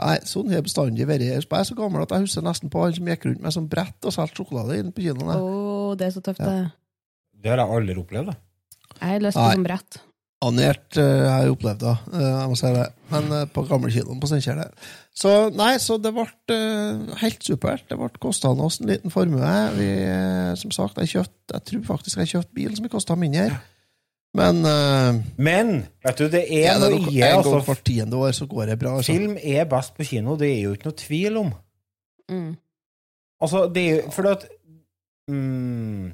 [SPEAKER 4] Nei, sånn har jeg bestandig vært. Jeg er så gammel at jeg husker nesten på han som gikk rundt med sånn brett og solgte sjokolade inne
[SPEAKER 3] Å,
[SPEAKER 4] på kinoen.
[SPEAKER 3] det er så tøft,
[SPEAKER 4] Ja.
[SPEAKER 3] det.
[SPEAKER 2] Det har jeg aldri opplevd. da.
[SPEAKER 3] Jeg har lyst på
[SPEAKER 4] Nei.
[SPEAKER 3] sånn brett.
[SPEAKER 4] Anert eh, har jeg opplevd da, eh, jeg må si det. Men eh, på gamlekinoen på Steinkjer. det. Så nei, så det ble eh, helt supert. Det ble kosta oss en liten formue. Vi, eh, som sagt, jeg, kjøpt, jeg tror faktisk jeg kjøpte bil som kosta mindre. Men eh,
[SPEAKER 2] Men vet du, det er
[SPEAKER 4] ja, det er nok,
[SPEAKER 2] noe i
[SPEAKER 4] en
[SPEAKER 2] altså,
[SPEAKER 4] gang hvert tiende år så går det bra. Altså.
[SPEAKER 2] Film er best på kino, det er jo ikke noe tvil om.
[SPEAKER 3] Mm.
[SPEAKER 2] Altså, det er jo Fordi at mm,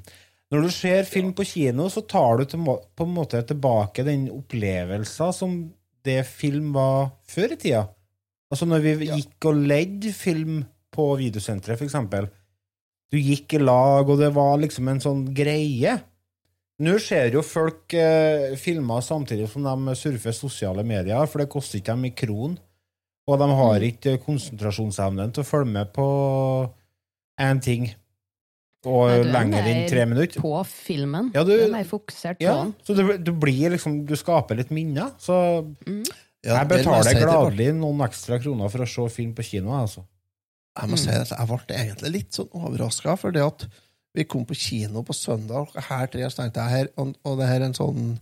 [SPEAKER 2] Når du ser film på kino, så tar du til, må- på en måte tilbake den opplevelsen som det film var før i tida. Altså når vi gikk og ledde film på videosenteret, for eksempel. Du gikk i lag, og det var liksom en sånn greie. Nå ser jo folk eh, filmer samtidig som de surfer sosiale medier, for det koster ikke dem i kron. Og de har
[SPEAKER 3] Mm.
[SPEAKER 2] ikke konsentrasjonsevnen til å følge med på én ting og
[SPEAKER 3] Nei, du er
[SPEAKER 2] lenger enn
[SPEAKER 3] mer
[SPEAKER 2] tre minutter.
[SPEAKER 3] På filmen.
[SPEAKER 2] Ja, du-
[SPEAKER 3] Du er mer fokusert
[SPEAKER 2] Ja,
[SPEAKER 3] på den.
[SPEAKER 2] så du, du blir liksom Du skaper litt minner. Så
[SPEAKER 3] Mm.
[SPEAKER 4] Ja,
[SPEAKER 2] jeg
[SPEAKER 4] det må
[SPEAKER 2] betaler
[SPEAKER 4] si, det ble-
[SPEAKER 2] gladelig noen ekstra kroner for å se film på kino, altså.
[SPEAKER 4] Jeg må si at jeg ble egentlig litt sånn overraska, for det at vi kom på kino på søndag, og her tre, så tenkte jeg her, og, og det her er en sånn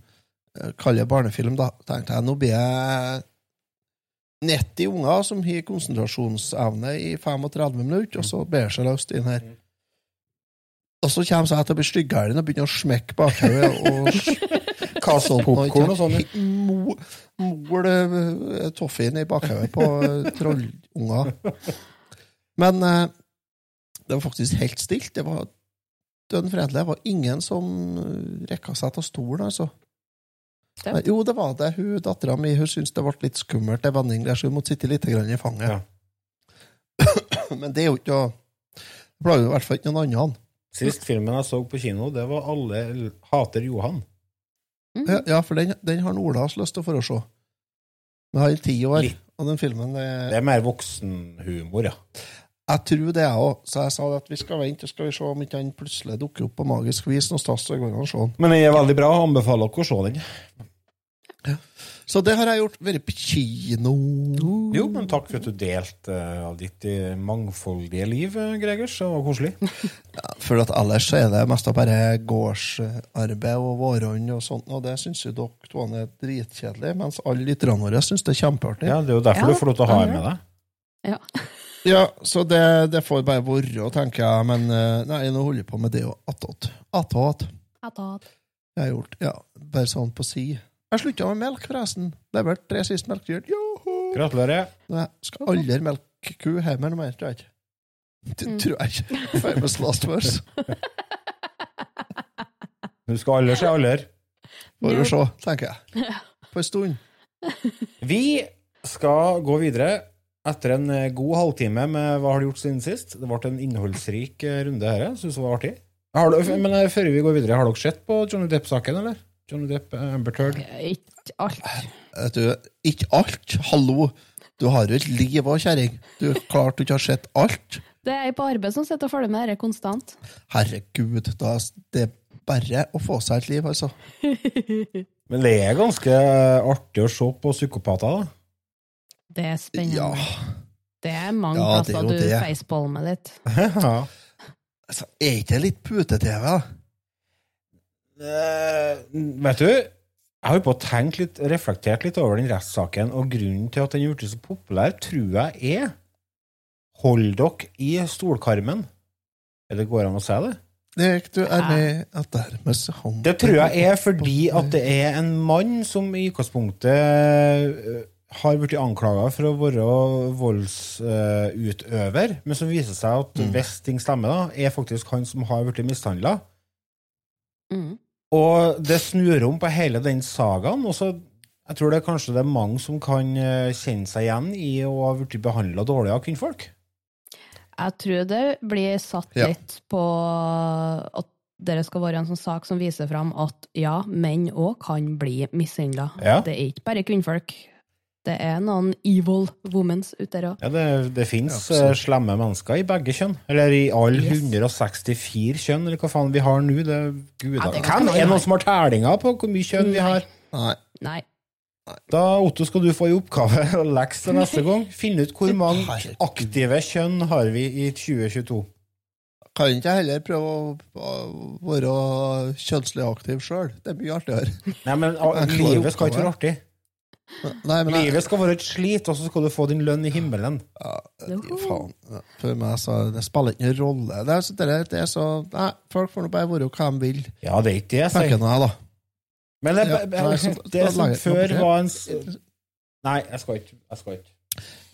[SPEAKER 4] eh, Kalle barnefilm, da. tenkte jeg, Nå blir jeg 90 unger som har konsentrasjonsevne i 35 minutter, og så bærer seg løs inn her. Og så kommer jeg til å bli styggere og begynner å smekke bakhodet og kaste opp
[SPEAKER 2] Popcorn og sånn, ja.
[SPEAKER 4] Mol eh, toffeen i bakhodet på eh, trollunger. Men eh, det var faktisk helt stilt. Det var dønn fredelig. Det var ingen som eh, rekka seg av stolen, altså.
[SPEAKER 3] Det.
[SPEAKER 4] Nei, Jo, det var det. Hun Dattera mi hun syntes det ble litt skummelt, det vending der, så hun måtte sitte litt grann i fanget.
[SPEAKER 2] Ja.
[SPEAKER 4] <coughs> Men det er jo ikke å Det plager jo i hvert fall ikke noen annen.
[SPEAKER 2] Sist filmen jeg så på kino, det var Alle hater Johan.
[SPEAKER 3] Mm.
[SPEAKER 2] Mm.
[SPEAKER 4] Ja, ja, for den, den har Olas lyst til å få se. Men har i ti år,
[SPEAKER 2] Litt.
[SPEAKER 4] og den filmen det-
[SPEAKER 2] Det er mer voksenhumor, ja.
[SPEAKER 4] Jeg tror det, jeg òg. Så jeg sa at vi skal vente og skal vi se om ikke han plutselig dukker opp på magisk vis. Noe stas, så går det an å se han.
[SPEAKER 2] Men den er veldig bra. Anbefaler dere å se den.
[SPEAKER 4] Så det har jeg gjort. Vært på kino.
[SPEAKER 2] Jo, men takk for at du delte eh, av ditt eh, mangfoldige liv, eh, Gregers. Det var koselig.
[SPEAKER 4] For at ellers så er det mest av bare gårdsarbeid og vårhånd og sånt, og det syns jo dere to er dritkjedelig, mens alle lytterne våre syns det er kjempeartig. Ja.
[SPEAKER 2] Ja, Det er jo derfor
[SPEAKER 3] Ja,
[SPEAKER 2] du får lov til å ha
[SPEAKER 3] ja,
[SPEAKER 2] den med deg.
[SPEAKER 3] Ja.
[SPEAKER 4] så det, det får bare være, tenker jeg, men eh, nei, nå holder jeg på med det og attåt. Attåt. Jeg har gjort, ja, bare sånn på si. Jeg slutta med melk, forresten. Levert tre siste melkedyr. Joho!
[SPEAKER 2] Gratulerer.
[SPEAKER 4] Nei, skal aldri melke ku hjemme noe mer, tror jeg ikke. Det tror jeg ikke. Famous last words.
[SPEAKER 2] Du skal aldri se aldri.
[SPEAKER 4] Bare å se, tenker jeg. På en stund.
[SPEAKER 2] Vi skal gå videre etter en eh, god halvtime med Hva har du gjort siden sist? Det ble en innholdsrik eh, runde her. Jeg syns det var artig. Har du, men eh, før vi går videre, har dere sett på Johnny Depp-saken, eller? Johnny Depp, eh, Amber Turd.
[SPEAKER 3] Ikke alt.
[SPEAKER 4] Vet du, ikke alt. Hallo! Du har jo et liv òg, kjerring. Du er klart du ikke har sett alt.
[SPEAKER 3] Det er jeg på arbeid som sitter og følger med dette konstant.
[SPEAKER 4] Herregud, da er det bare å få seg et liv, altså.
[SPEAKER 2] Men det er ganske artig å se på psykopater, da.
[SPEAKER 3] Det er spennende.
[SPEAKER 4] Ja.
[SPEAKER 3] Det er mange
[SPEAKER 4] Ja, det er
[SPEAKER 3] plasser
[SPEAKER 4] jo
[SPEAKER 3] du
[SPEAKER 4] det.
[SPEAKER 3] facepalmer litt.
[SPEAKER 2] <laughs> ja.
[SPEAKER 4] altså er ikke det litt pute-TV, da?
[SPEAKER 2] Eh, vet du, jeg har jo på tenkt litt, reflektert litt over den rettssaken, og grunnen til at den er blitt så populær, tror jeg er Hold dere i stolkarmen. Er det går an å si det?
[SPEAKER 4] Lek du er med sånn- at dermed så hånd-
[SPEAKER 2] Det tror jeg er fordi at det er en mann som i utgangspunktet eh, har blitt anklaga for å være voldsutøver, men som viser seg at hvis ting stemmer, da, er faktisk han som har blitt mishandla.
[SPEAKER 3] Mm.
[SPEAKER 2] Og det snur om på hele den sagaen. Og så jeg tror det er kanskje det er mange som kan eh, kjenne seg igjen i å ha blitt behandla dårlig av kvinnfolk.
[SPEAKER 3] Jeg tror det blir satt
[SPEAKER 4] Ja.
[SPEAKER 3] litt på at det skal være en sånn sak som viser fram at ja, menn òg kan bli mishandla.
[SPEAKER 2] Ja.
[SPEAKER 3] Det er ikke bare kvinnfolk. Det er noen evil womens ute der òg.
[SPEAKER 2] Ja, det, det fins
[SPEAKER 4] Absolutt.
[SPEAKER 2] slemme mennesker i begge kjønn. Eller i alle
[SPEAKER 3] Yes.
[SPEAKER 2] 164 kjønn, eller hva faen vi har nå. Det, Gud,
[SPEAKER 3] Ja, det kan
[SPEAKER 2] Hvem
[SPEAKER 3] man
[SPEAKER 2] er det
[SPEAKER 3] ha.
[SPEAKER 2] noen som har tellinga på hvor mye kjønn vi har?
[SPEAKER 4] Nei.
[SPEAKER 3] Nei.
[SPEAKER 2] Da, Otto, skal du få i oppgave <laughs> og leks til neste gang. Finne ut hvor mange
[SPEAKER 4] Herregud.
[SPEAKER 2] aktive kjønn har vi i 2022.
[SPEAKER 4] Kan ikke jeg heller prøve å å være kjønnslig aktiv sjøl? Det er mye artigere. <laughs>
[SPEAKER 2] Nei, men ah,
[SPEAKER 4] Jeg klarer
[SPEAKER 2] livet skal ikke være artig.
[SPEAKER 4] Nei, men jeg,
[SPEAKER 2] Livet skal være et slit, og så skal du få din lønn i himmelen.
[SPEAKER 4] Ja, faen. For meg så det spiller ikke noen rolle. Det er, så, det, er, det er så Nei, folk får nå bare være hva de vil,
[SPEAKER 2] Ja, det er ikke det jeg
[SPEAKER 4] tenker
[SPEAKER 2] sier.
[SPEAKER 4] nå jeg, da.
[SPEAKER 2] Men det,
[SPEAKER 4] Ja,
[SPEAKER 2] det,
[SPEAKER 4] nei, så-
[SPEAKER 2] det
[SPEAKER 4] da
[SPEAKER 2] som
[SPEAKER 4] lager-
[SPEAKER 2] før
[SPEAKER 4] nå-
[SPEAKER 2] var en s- Nei, jeg skal ikke. Jeg skal ikke.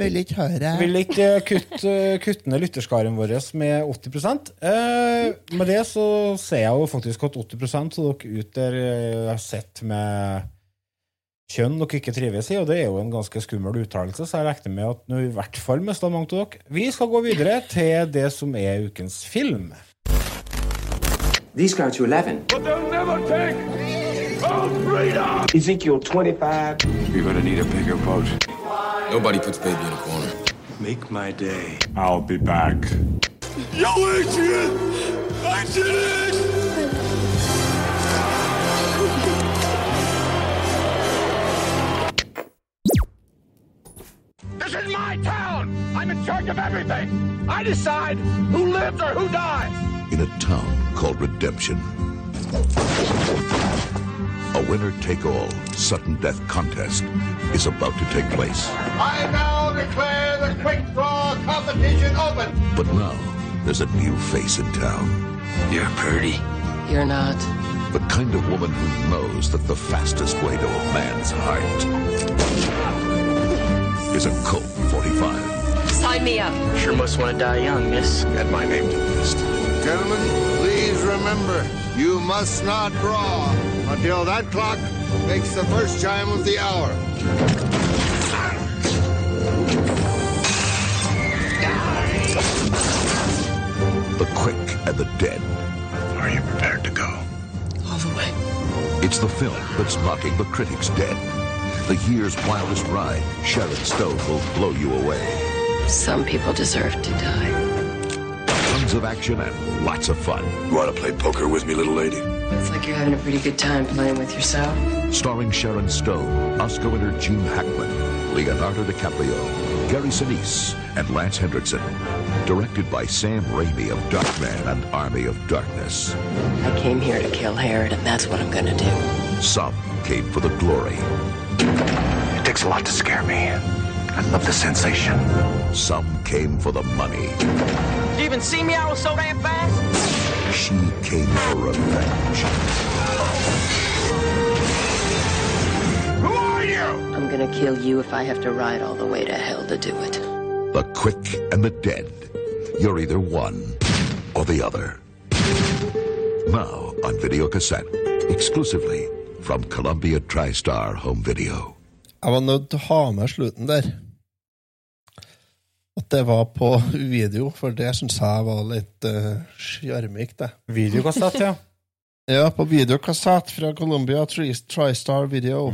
[SPEAKER 4] Vil ikke høre.
[SPEAKER 2] Jeg vil ikke kutte, kutte ned lytterskaren vår med 80 eh, Med det så ser jeg jo faktisk at 80 av dere ut der eh, har sett med kjønn dere ikke trives i, og det er jo en ganske skummel uttalelse, så jeg regner med at nå i hvert fall mista mange av dere. Vi skal gå videre til det som er ukens film.
[SPEAKER 6] These go to 11.
[SPEAKER 7] But they'll never take our freedom!
[SPEAKER 6] Ezekiel 25.
[SPEAKER 7] You're gonna need a bigger boat.
[SPEAKER 5] Nobody puts baby in a corner.
[SPEAKER 7] Make my day. I'll be back. Yo, Adrian! I did it! This is my town! I'm in charge of everything! I decide who lives or who dies!
[SPEAKER 8] in a town called Redemption. A winner take all sudden death contest is about to take place.
[SPEAKER 7] I now declare the quick draw competition open!
[SPEAKER 8] But now, there's a new face in town.
[SPEAKER 7] You're pretty.
[SPEAKER 9] You're not.
[SPEAKER 8] The kind of woman who knows that the fastest way to a man's heart is a Colt 45.
[SPEAKER 9] Sign me up.
[SPEAKER 6] Sure must want to die young, miss.
[SPEAKER 8] Add my name to the list.
[SPEAKER 7] Gentlemen, please remember, you must not draw until that clock makes the first chime of the hour.
[SPEAKER 8] The quick and the dead. Are you prepared to go?
[SPEAKER 9] All the way.
[SPEAKER 8] It's the film that's knocking the critics dead. The year's wildest ride, Sharon Stone will blow you away.
[SPEAKER 9] Some people deserve to die.
[SPEAKER 8] Tons of action and lots of fun. You want to play poker with me, little lady?
[SPEAKER 9] It's like you're having a pretty good time playing with yourself.
[SPEAKER 8] Starring Sharon Stone, Oscar winner Gene Hackman, Leonardo DiCaprio, Gary Sinise, and Lance Hendrickson. Directed by Sam Raimi of Darkman and Army of Darkness.
[SPEAKER 9] I came here to kill Herod, and that's what I'm gonna do.
[SPEAKER 8] Some came for the glory.
[SPEAKER 7] It takes a lot to scare me. I love the sensation.
[SPEAKER 8] Some came for the money.
[SPEAKER 6] You even see me? I was so damn fast.
[SPEAKER 8] She came for revenge.
[SPEAKER 7] Who are you?
[SPEAKER 9] I'm gonna kill you if I have to ride all the way to hell to do it.
[SPEAKER 8] The quick and the dead. You're either one or the other. Now on video cassette, exclusively from Columbia TriStar Home Video.
[SPEAKER 4] Jeg var nødt til å ha med slutten der. At det var på video, for det syns jeg var litt eh, sjarmik, det.
[SPEAKER 2] Videokassett, ja.
[SPEAKER 4] Ja, på videokassett fra Columbia Tri- TriStar Video.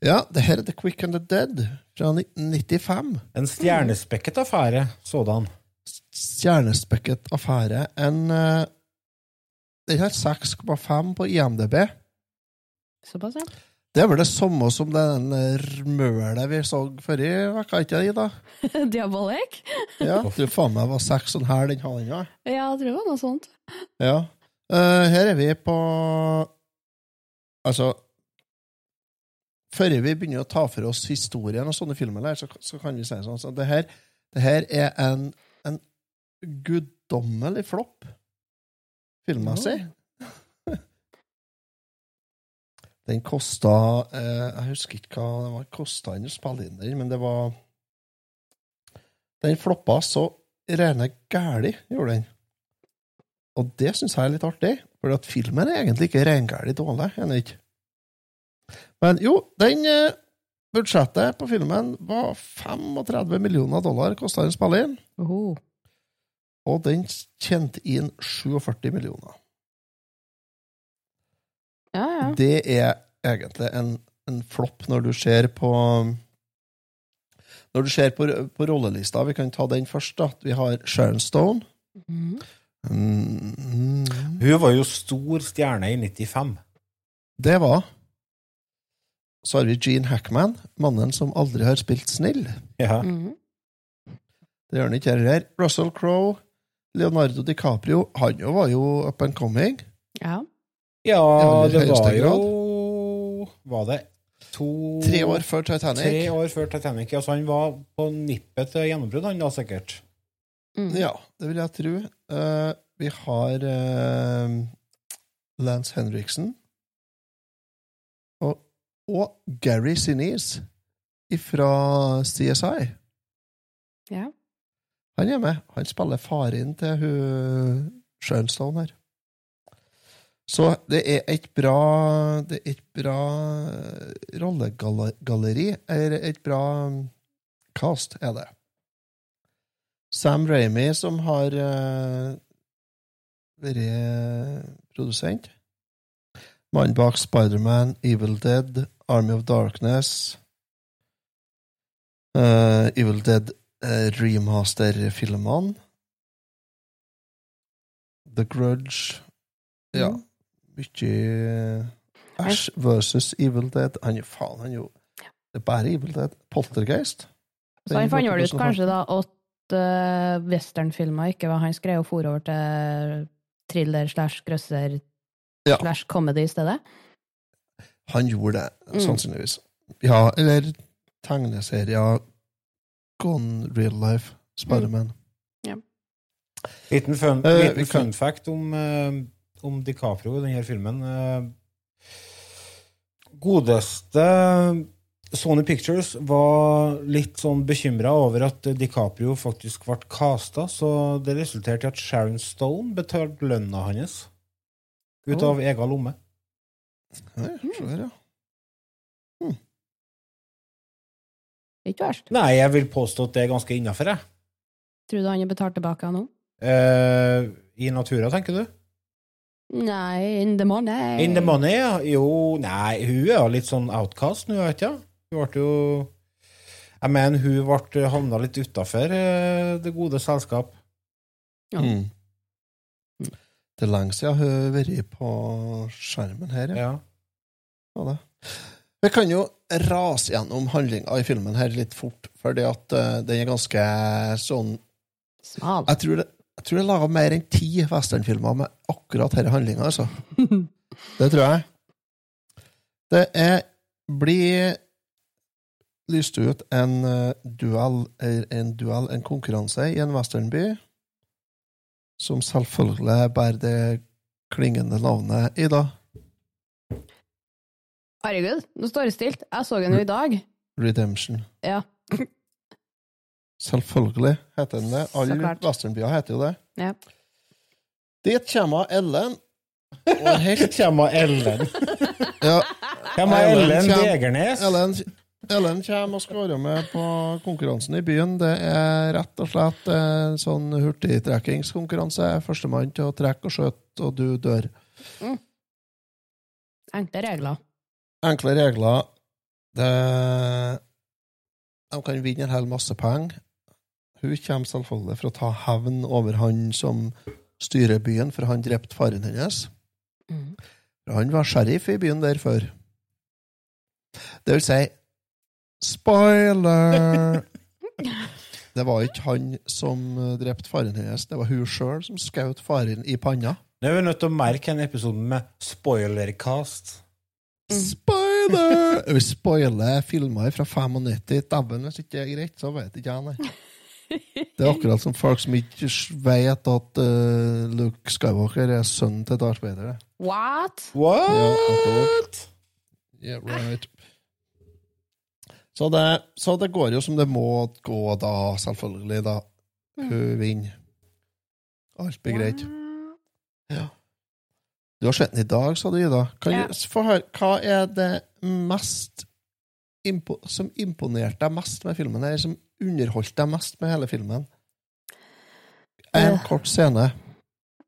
[SPEAKER 4] Ja, det her er The Quick and the Dead fra 1995.
[SPEAKER 2] En stjernespekket affære, sådan.
[SPEAKER 4] Stjernespekket affære. En eh, Den har 6,5 på IMDb.
[SPEAKER 3] Såpass, ja. <laughs>
[SPEAKER 4] Det er vel det samme som den eh, mølet vi så forrige uke, ikke det, Ida?
[SPEAKER 3] Diabolik?
[SPEAKER 4] Ja, du faen meg var seks og en halv den halv ja.
[SPEAKER 3] Ja, jeg tror det var noe sånt.
[SPEAKER 4] Ja. Eh, her er vi på Altså Før vi begynner å ta for oss historien og sånne filmer, der, så, så kan vi si sånn så det, her, det her er en, en guddommelig flopp filmmessig. <laughs> Den kosta eh, Jeg husker ikke hva den var kosta å spille inn den, men det var Den floppa så rene gæli, gjorde den. Og det syns jeg er litt artig, for at filmen er egentlig ikke reingæli dårlig. er den ikke? Men jo, den eh, budsjettet på filmen var 35 millioner dollar, kosta den å spille inn,
[SPEAKER 3] Oho.
[SPEAKER 4] og den tjente inn 47 millioner.
[SPEAKER 3] Ja, ja.
[SPEAKER 4] Det er egentlig en, en flopp når du ser på Når du ser på, på rollelista. Vi kan ta den først. da. Vi har Sharon Stone.
[SPEAKER 3] Mhm.
[SPEAKER 4] Mm.
[SPEAKER 2] Hun var jo stor stjerne i 95.
[SPEAKER 4] Det var Så har vi Gene Hackman, mannen som aldri har spilt snill.
[SPEAKER 2] Ja.
[SPEAKER 3] Mhm.
[SPEAKER 4] Det gjør han ikke heller. Russell Crowe, Leonardo DiCaprio han jo var jo up and coming.
[SPEAKER 3] Ja.
[SPEAKER 2] Ja,
[SPEAKER 4] I aller
[SPEAKER 2] det var
[SPEAKER 4] høyeste
[SPEAKER 2] jo Var det to
[SPEAKER 4] Tre år før Titanic.
[SPEAKER 2] Tre år før Titanic. Altså, han var på nippet til gjennombrudd, han da, sikkert.
[SPEAKER 3] Mm.
[SPEAKER 4] Ja, det vil jeg tro. Eh, vi har eh, Lance Henriksen. Og, og Gary Sinise fra CSI.
[SPEAKER 3] ja.
[SPEAKER 4] Han er med. Han spiller faren til hun Shrønstone her. Så det er et bra Det er et bra eh, rollegalleri, eller et bra mm, cast, er det. Sam Ramy, som har eh, vært eh, produsent. Mannen bak Spiderman, Evil Dead, Army of Darkness eh, Evil Dead eh, remaster-filmene. The Grudge. Ja. Mye eh, Ash versus Evil Dead. Han er faen, han er jo Det er bare Evil Dead. Poltergeist.
[SPEAKER 3] Så han fant vel ut kanskje da at eh, westernfilmer ikke var hans greie, og for over til thriller slash grøsser
[SPEAKER 4] Ja.
[SPEAKER 3] slash comedy i stedet.
[SPEAKER 4] Han gjorde det,
[SPEAKER 3] Mm.
[SPEAKER 4] sannsynligvis. Ja, eller tegneserier Gone Real Life. Spiderman.
[SPEAKER 3] Mm.
[SPEAKER 2] Liten fun,
[SPEAKER 4] Eh, vi
[SPEAKER 2] liten
[SPEAKER 4] kan-
[SPEAKER 2] fun fact om, eh, om DiCaprio i denne filmen. Eh, godeste Sony Pictures var litt sånn bekymra over at DiCaprio faktisk ble casta, så det resulterte i at Sharon Stone betalte lønna hans ut av egen lomme.
[SPEAKER 4] Ja, se her, ja.
[SPEAKER 3] Ikke verst.
[SPEAKER 2] Nei, jeg vil påstå at det er ganske innafor, jeg.
[SPEAKER 3] Tror du han er betalt tilbake nå?
[SPEAKER 2] Eh, I natura, tenker du?
[SPEAKER 3] Nei, in the money.
[SPEAKER 2] In the money, ja. Jo, nei, hun er jo litt sånn outcast nå, vet jeg. Hun ble jo Jeg mener, hun ble havna litt utafor det gode selskap.
[SPEAKER 3] Ja.
[SPEAKER 4] Mm. Det er lenge siden jeg har vært på skjermen her. Ja.
[SPEAKER 2] Ja.
[SPEAKER 4] Ja, det. Vi kan jo rase gjennom handlinga i filmen her litt fort, fordi at eh, den er ganske sånn
[SPEAKER 3] Smal.
[SPEAKER 4] Jeg tror det, jeg tror det er laga mer enn ti westernfilmer med akkurat denne handlinga, altså. Det tror jeg. Det er blir lyst ut en eh, duell, eller en duell, en konkurranse i en westernby, som selvfølgelig bærer det klingende navnet Ida.
[SPEAKER 3] <laughs> Herregud, nå står det stilt. Jeg så den jo i dag.
[SPEAKER 4] Redemption.
[SPEAKER 3] Ja.
[SPEAKER 4] Selvfølgelig heter den det.
[SPEAKER 3] Så
[SPEAKER 4] Alle
[SPEAKER 3] klart.
[SPEAKER 4] westernbyer heter jo det.
[SPEAKER 3] ja.
[SPEAKER 4] Dit kommer Ellen. Og helt
[SPEAKER 2] Kjemma Ellen.
[SPEAKER 4] ja,
[SPEAKER 2] Kjemma
[SPEAKER 4] Ellen
[SPEAKER 2] Ellen
[SPEAKER 4] kjem-
[SPEAKER 2] Degernes.
[SPEAKER 4] Ellen, Ellen kommer og skal være med på konkurransen i byen. Det er rett og slett en sånn hurtigtrekkingskonkurranse. Førstemann til å trekke og skjøte, og du dør.
[SPEAKER 3] Enkle regler.
[SPEAKER 4] Enkle regler. Det, de kan vinne en hel masse penger. Hun kommer selvfølgelig for å ta hevn over han som styrer byen, for han drepte faren hennes.
[SPEAKER 3] Mm.
[SPEAKER 4] Han var sheriff i byen der før. Det vil si Spoiler! Det var ikke han som eh, drepte faren hennes, det var hun sjøl som skjøt faren i panna.
[SPEAKER 2] Nå er vi nødt til å merke denne episoden med spoilercast.
[SPEAKER 4] Mm. Spoiler! Vi spoiler filmer fra 95. Dæven, hvis ikke det er greit, så vet ikke jeg, nei. Det er akkurat som folk som ikke vet at eh, Luke Skywalker er sønnen til Darth Vader. det.
[SPEAKER 3] What?
[SPEAKER 2] What?
[SPEAKER 4] Yeah, right. Så det, så det går jo som det må gå da, selvfølgelig, da. Hun vinner. Alt blir greit. Ja. Du har sett den i dag, sa du, Ida. Kan
[SPEAKER 3] Ja.
[SPEAKER 4] du s- få høre, hva er det mest impo som imponerte deg mest med filmen, eller som underholdt deg mest med hele filmen? En
[SPEAKER 3] Øh.
[SPEAKER 4] kort scene.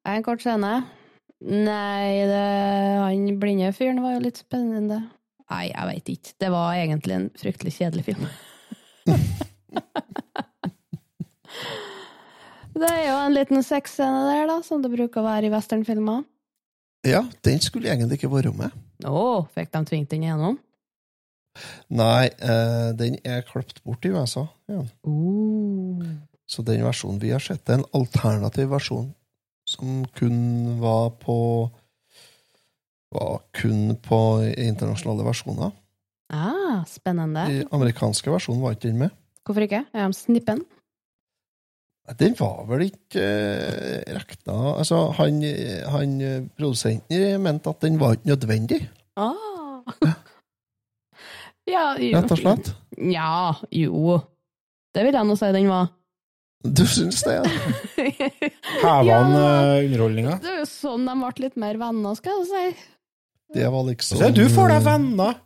[SPEAKER 3] En kort scene. Nei, det, han blinde fyren var jo litt spennende. Nei, jeg veit ikke. Det var egentlig en fryktelig kjedelig <laughs> film. det er jo en liten sexscene der, da, som det bruker å være i westernfilmer.
[SPEAKER 4] Ja, den skulle egentlig ikke vært med.
[SPEAKER 3] Å, fikk de tvingt den igjennom?
[SPEAKER 4] Nei, eh, den er klippet bort i USA. Ja.
[SPEAKER 3] Uh.
[SPEAKER 4] Så den versjonen vi har sett, er en alternativ versjon som kun var på var kun på internasjonale versjoner.
[SPEAKER 3] Ah, spennende.
[SPEAKER 4] Den amerikanske versjonen var ikke den med.
[SPEAKER 3] Hvorfor ikke? Er de snippen?
[SPEAKER 4] Nei, Den var vel ikke eh, rekna Altså, han, han eh, produsenten mente at den var ikke nødvendig,
[SPEAKER 3] Ah. <laughs> ja, jo.
[SPEAKER 4] rett og slett.
[SPEAKER 3] Ja, jo. Det vil jeg nå si den var.
[SPEAKER 4] Du syns det? ja?
[SPEAKER 3] <laughs>
[SPEAKER 2] Heva han
[SPEAKER 3] Ja.
[SPEAKER 2] eh, underholdninga?
[SPEAKER 3] Det er jo sånn de ble litt mer venner, skal jeg si.
[SPEAKER 4] Det var liksom
[SPEAKER 2] Se, du får deg venner!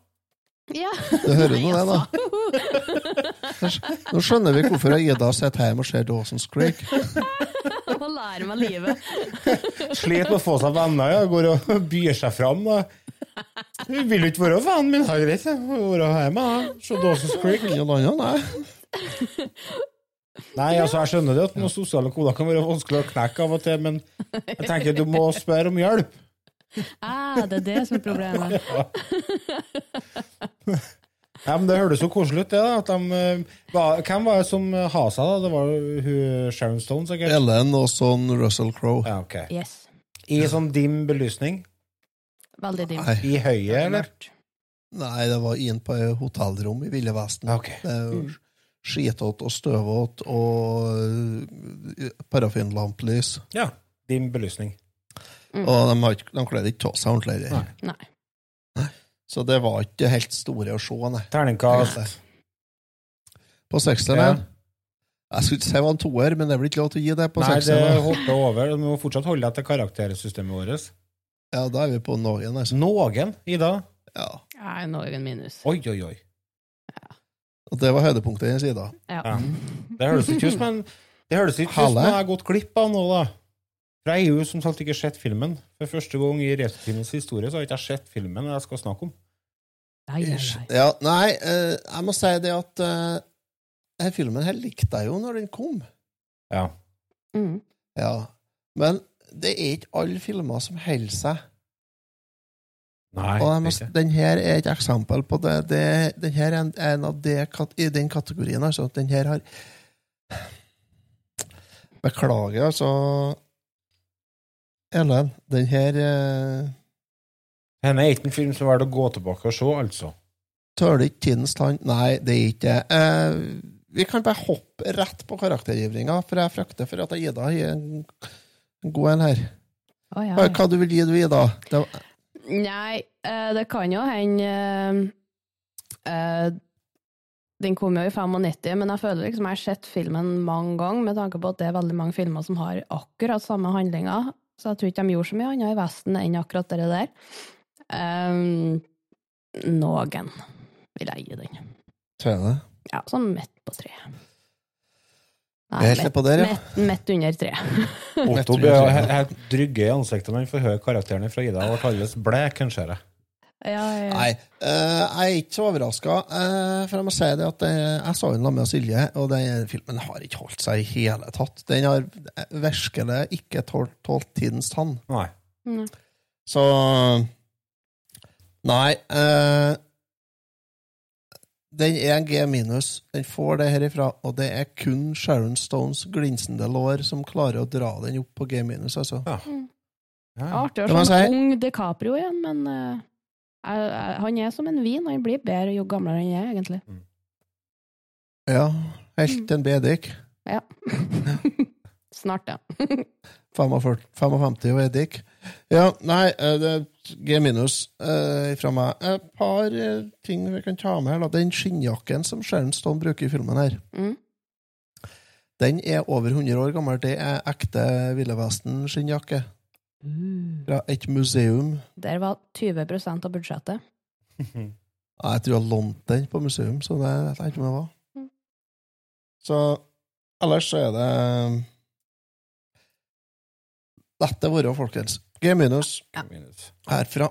[SPEAKER 3] Ja.
[SPEAKER 4] Du hører nå Sånn det, da.
[SPEAKER 3] da.
[SPEAKER 4] Nå skjønner vi hvorfor Ida sitter hjemme og ser Dawson's Creek.
[SPEAKER 3] <laughs> Jeg må lære meg livet.
[SPEAKER 2] Slet med å få seg venner, ja. Går og <laughs> byr seg fram. Da. Du vil jo ikke være vennen min, det er greit. jeg. Må Være hjemme, da. Se Dawson's Creek.
[SPEAKER 4] Ingen andre, nei.
[SPEAKER 2] Nei, altså, jeg skjønner det at noen sosiale koder kan være vanskelig å knekke av og til, men jeg tenker du må spørre om hjelp.
[SPEAKER 3] Ah, det er det som er problemet.
[SPEAKER 2] Ja, men Det høres jo koselig ut, det. da, at de, eh, var, Hvem var det som eh, ha seg? da? Det var jo hun Sharon Stone, sikkert?
[SPEAKER 4] Ellen og sånn Russell Crowe.
[SPEAKER 2] Ja, ok.
[SPEAKER 3] Yes.
[SPEAKER 2] I sånn dim belysning?
[SPEAKER 3] Veldig dimt.
[SPEAKER 4] Nei,
[SPEAKER 2] I høyet, eller?
[SPEAKER 4] nei, det var inn på et hotellrom i Ville Vesten.
[SPEAKER 2] Ok.
[SPEAKER 4] Det er jo skitete og støvete og øh, parafinlampelys.
[SPEAKER 2] Ja. Dim belysning.
[SPEAKER 3] Mm.
[SPEAKER 4] Og de, har ikke- de kledde ikke av seg ordentlig.
[SPEAKER 2] Nei.
[SPEAKER 4] heller.
[SPEAKER 3] Nei.
[SPEAKER 4] Så det var ikke det helt store å se. Nei.
[SPEAKER 2] Terningkast.
[SPEAKER 4] På
[SPEAKER 2] Ja.
[SPEAKER 4] seksteren Jeg skulle ikke si det var en toer, men det blir ikke lov til å gi det på
[SPEAKER 2] Nei, det
[SPEAKER 4] seksteren.
[SPEAKER 2] hopper over. Vi må fortsatt holde deg til karaktersystemet vårt.
[SPEAKER 4] Ja, da er vi på noen. Altså.
[SPEAKER 2] Noen, Ida.
[SPEAKER 4] Ja.
[SPEAKER 3] Nei, noen minus.
[SPEAKER 2] Oi, oi, oi.
[SPEAKER 4] Og det var høydepunktet i den sida.
[SPEAKER 2] Ja.
[SPEAKER 3] Ja.
[SPEAKER 2] Det høres ikke ut som en Det høres ikke ut som
[SPEAKER 4] Halle?
[SPEAKER 2] jeg har gått glipp av noe, da. For jeg har jo som sagt ikke sett filmen. For første gang i Retrotimens historie så har jeg ikke sett filmen jeg skal snakke om.
[SPEAKER 3] Nei, nei, nei.
[SPEAKER 4] Ja, nei, eh, jeg må si det at eh, denne filmen her likte jeg jo når den kom.
[SPEAKER 2] Ja.
[SPEAKER 3] Mm.
[SPEAKER 4] Ja. Men det er ikke alle filmer som holder seg.
[SPEAKER 2] Nei,
[SPEAKER 4] Og jeg må,
[SPEAKER 2] det er ikke.
[SPEAKER 4] den her er et eksempel på det. det den her er en, en av de, kat- i den kategorien. Altså, at den her har Beklager, altså. Ellen, den her eh,
[SPEAKER 2] Denne er ikke en film som er verdt å gå tilbake og se, altså.
[SPEAKER 4] <laughs> tøler ikke tidens tann. Nei, det er ikke det. Eh, vi kan bare hoppe rett på karaktergivninga, for jeg frykter for at jeg Ida gir en en god en her.
[SPEAKER 3] Å, ja,
[SPEAKER 4] Hva,
[SPEAKER 3] ja.
[SPEAKER 4] hva du vil gi du, Ida? Det,
[SPEAKER 3] Nei, eh, det kan jo hende eh, eh, Den kom jo i 95, men jeg føler liksom jeg har sett filmen mange ganger, med tanke på at det er veldig mange filmer som har akkurat samme handlinger. Så jeg tror ikke de gjorde så mye annet i Vesten enn akkurat det der. Um, noen vil jeg gi den.
[SPEAKER 4] Tøne.
[SPEAKER 3] Ja, sånn midt på treet. Nei,
[SPEAKER 4] Jeg er helt
[SPEAKER 3] midt-
[SPEAKER 4] på der, ja.
[SPEAKER 3] midt- Midt under treet.
[SPEAKER 2] Otto ble jo he- helt drygge i ansiktet når han får høre karakterene fra Ida. Han ble alles blek, kanskje. det.
[SPEAKER 3] Ja, ja, ja.
[SPEAKER 4] Nei, eh, jeg er ikke så overraska. for jeg må si det at eh, jeg så den sammen med Silje, og den filmen har ikke holdt seg i hele tatt. Den har virkelig ikke tålt, tålt tidens tann.
[SPEAKER 2] Nei.
[SPEAKER 3] Nei.
[SPEAKER 4] Så Nei. eh, den er en G minus. Den får det herifra, og det er kun Sharon Stones glinsende lår som klarer å dra den opp på G minus, altså.
[SPEAKER 2] <laughs> Ja.
[SPEAKER 3] Artig å
[SPEAKER 4] Det må
[SPEAKER 3] se
[SPEAKER 4] altså, jeg si.
[SPEAKER 3] en ung DiCaprio igjen, men eh, jeg, jeg, han er som en vin. Han blir bedre jo gamlere han er, egentlig.
[SPEAKER 4] Ja. Helt en B-dikk.
[SPEAKER 3] Ja. <laughs> Snart, ja.
[SPEAKER 4] 45 55 og eddik. Ja, nei, eh, det er G minus eh, fra meg. Et par eh, ting vi kan ta med her. da. Den skinnjakken som Sharon Stone bruker i filmen her,
[SPEAKER 3] Mm.
[SPEAKER 4] den er over 100 år gammel. Det er ekte Ville Vesten-skinnjakke fra et museum.
[SPEAKER 3] Mm. Der var 20 av budsjettet.
[SPEAKER 4] Ja, Jeg tror jeg lånte den på museum, så det vet jeg ikke om det var.
[SPEAKER 3] Mm.
[SPEAKER 4] Så ellers så er det eh, Dette være, folkens. G minus
[SPEAKER 2] Minus.
[SPEAKER 4] herfra.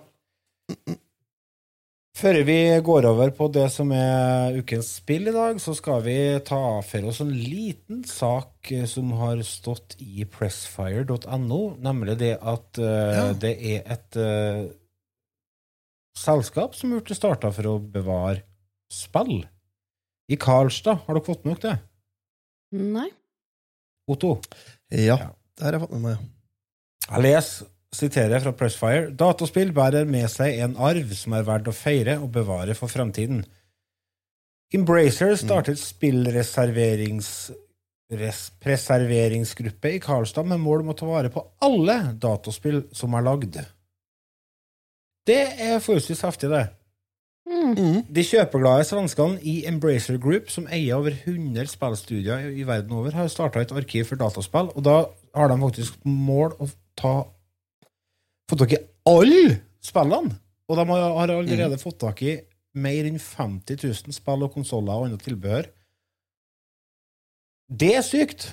[SPEAKER 2] Før vi går over på det som er ukens spill i dag, så skal vi ta for oss en liten sak eh, som har stått i pressfire.no, nemlig det at eh,
[SPEAKER 4] Ja.
[SPEAKER 2] det er et eh, selskap som ble starta for å bevare spill. I Karlstad, har dere fått med dere det?
[SPEAKER 3] Nei.
[SPEAKER 2] Otto.
[SPEAKER 4] Ja, det har jeg fått med meg.
[SPEAKER 2] Jeg leser, siterer fra Pressfire, dataspill bærer med seg en arv som er verdt å feire og bevare for fremtiden. Embracer startet spillreserverings... res- Preserveringsgruppe i Karlstad med mål om å ta vare på alle dataspill som er lagd. Det er forholdsvis heftig, det. De kjøpeglade svenskene i Embracer Group, som eier over 100 spillstudier i- i verden over, har starta et arkiv for dataspill, og da har de faktisk mål å ta få tak i alle spillene! Og de har har
[SPEAKER 4] Mm.
[SPEAKER 2] allerede fått tak i mer enn 50 000 spill og konsoller og annet tilbehør. Det er sykt!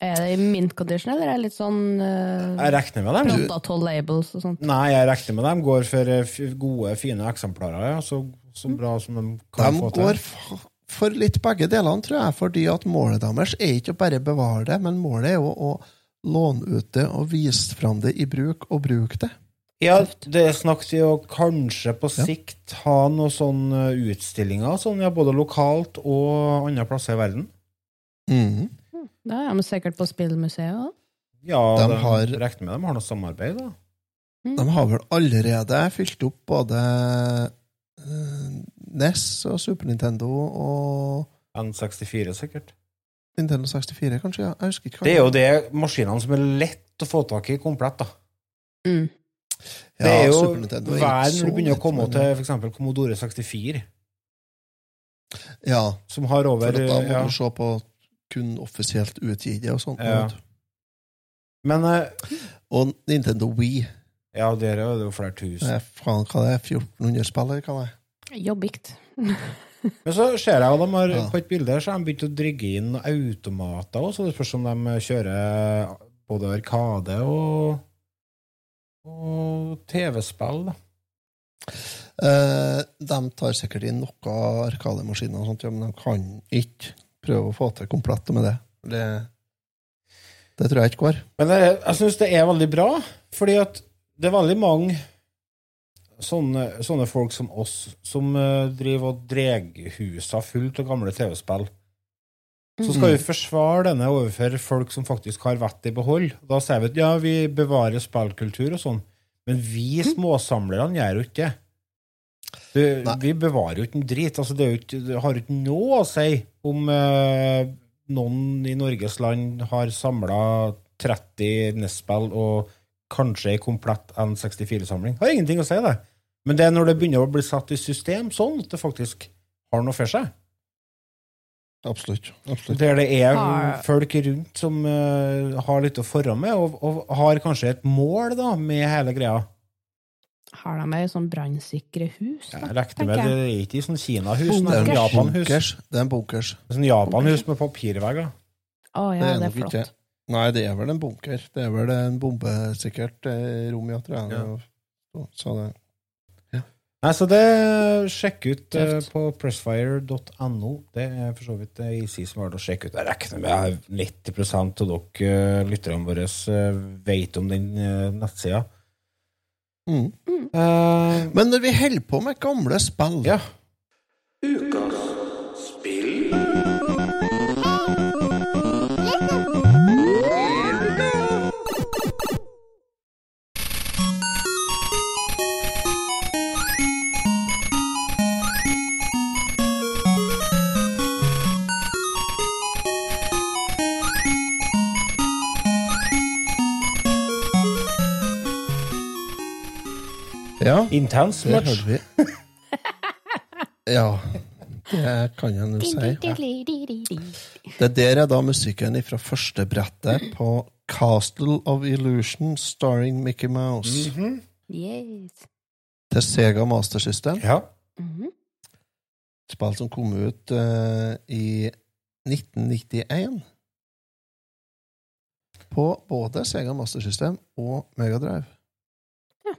[SPEAKER 3] Er det i mint condition, eller er det litt sånn
[SPEAKER 4] Mm.
[SPEAKER 3] uh,
[SPEAKER 2] Jeg regner med dem.
[SPEAKER 3] labels og sånt?
[SPEAKER 2] Nei, jeg regner med dem går for eh, f- gode, fine eksemplarer, ja. Så, så bra som de kan
[SPEAKER 4] Mm. De
[SPEAKER 2] få til.
[SPEAKER 4] går f- for litt begge delene, tror jeg, fordi at målet deres er ikke å bare bevare det, men målet er jo å låne ut det og vise fram det i bruk, og bruke det.
[SPEAKER 2] Ja, det er snakk til å kanskje på sikt ha noen sånne utstillinger, sånn, ja, både lokalt og andre plasser i verden. Mhm.
[SPEAKER 3] Da er de sikkert på spillmuseet òg.
[SPEAKER 2] Ja,
[SPEAKER 4] De
[SPEAKER 2] de
[SPEAKER 4] har-
[SPEAKER 2] regner med de har noe samarbeid, da.
[SPEAKER 3] Mm.
[SPEAKER 4] De har vel allerede fylt opp både eh, NES og Super Nintendo og
[SPEAKER 2] N64, sikkert.
[SPEAKER 4] Nintendo 64, kanskje? Ja. Jeg husker ikke. hva-
[SPEAKER 2] Det er jo det maskinene som er lett å få tak i komplett, da.
[SPEAKER 3] Mm.
[SPEAKER 4] Ja,
[SPEAKER 2] det er jo
[SPEAKER 4] Super
[SPEAKER 2] hver
[SPEAKER 4] Nintendo er ikke
[SPEAKER 2] når
[SPEAKER 4] så
[SPEAKER 2] du begynner å
[SPEAKER 4] lett,
[SPEAKER 2] komme
[SPEAKER 4] men-
[SPEAKER 2] til f.eks. Commodore 64,
[SPEAKER 4] Ja,
[SPEAKER 2] som har
[SPEAKER 4] for
[SPEAKER 2] over
[SPEAKER 4] at da må
[SPEAKER 2] ja.
[SPEAKER 4] du se på kun offisielt utgitt og sånt.
[SPEAKER 2] Ja. Men eh,
[SPEAKER 4] Og Nintendo Wii.
[SPEAKER 2] ja, der er det jo flere
[SPEAKER 4] Det
[SPEAKER 2] tusen.
[SPEAKER 4] er faen hva Eh, det er, 1400 spill, eller hva det er?
[SPEAKER 3] Jobbikt.
[SPEAKER 2] Men så ser jeg at de har
[SPEAKER 4] Ja.
[SPEAKER 2] på et bilde her, så har de begynt å drygge inn automater. Og så det spørs om de kjører både Arkade og, og TV-spill. da.
[SPEAKER 4] Eh, de tar sikkert inn noe arkademaskiner, og sånt, ja, men de kan ikke prøve å få til komplett med det. Det, det tror jeg ikke går.
[SPEAKER 2] Men jeg, jeg syns det er veldig bra, fordi at det er veldig mange sånne, sånne folk som oss som eh, driver og dreg husa fullt av gamle TV-spill. Så skal vi forsvare denne overfor folk som faktisk har vettet i behold. Da sier vi at ja, vi bevarer spillkultur og sånn, men vi småsamlerne gjør jo ikke det. Du,
[SPEAKER 4] Nei.
[SPEAKER 2] vi bevarer jo ikke en drit. Altså, det, er jo ikke, det har jo ikke noe å si om eh, noen i Norges land har samla 30 NES-spill og kanskje ei komplett N64-samling. Har ingenting å si, det. Men det er når det begynner å bli satt i system sånn at det faktisk har noe for seg.
[SPEAKER 4] Absolutt. absolutt.
[SPEAKER 2] Der det er
[SPEAKER 3] Har-
[SPEAKER 2] folk rundt som eh, har litt å forre med, og, og har kanskje et mål da, med hele greia.
[SPEAKER 3] Har de ei sånn brannsikre hus? Da?
[SPEAKER 2] Jeg regner med det
[SPEAKER 3] tenker jeg.
[SPEAKER 2] er ikke i sånn Kina-hus,
[SPEAKER 4] Det
[SPEAKER 2] men
[SPEAKER 4] er
[SPEAKER 2] sånn
[SPEAKER 4] en
[SPEAKER 2] Japan-hus.
[SPEAKER 4] bunkers. Det er en bunkers.
[SPEAKER 2] Sånn Japan-hus med papirvegger.
[SPEAKER 3] Å ja, det
[SPEAKER 4] nok
[SPEAKER 3] er flott.
[SPEAKER 4] ikke- Nei, det er vel en bunker. Det er vel en bombe, sikkert, eh, rom, ja, tror jeg.
[SPEAKER 2] Ja.
[SPEAKER 4] Og- Så det,
[SPEAKER 2] Nei, så det Sjekk ut eh,
[SPEAKER 3] Tøft.
[SPEAKER 2] på pressfire.no. Det er for så vidt det easy som har det å sjekke ut. Jeg regner med at 90 av dere eh, lytterne våre eh, vet om den eh, nettsida.
[SPEAKER 4] mm.
[SPEAKER 2] Eh,
[SPEAKER 4] Men når vi holder på med gamle spill
[SPEAKER 2] ja.
[SPEAKER 4] ja.
[SPEAKER 2] Intense
[SPEAKER 4] Det
[SPEAKER 2] match.
[SPEAKER 4] hørte vi. Ja, det kan jeg nå si. Det der er da musikken fra første brettet på Castle of Illusion starring Mickey
[SPEAKER 2] Mm.
[SPEAKER 4] Mouse
[SPEAKER 2] Mhm.
[SPEAKER 3] Yes.
[SPEAKER 4] til Sega Master System.
[SPEAKER 2] Ja.
[SPEAKER 3] Mhm.
[SPEAKER 4] Spill som kom ut eh, i 1991. På både Sega Master System og Megadrive.
[SPEAKER 3] Ja.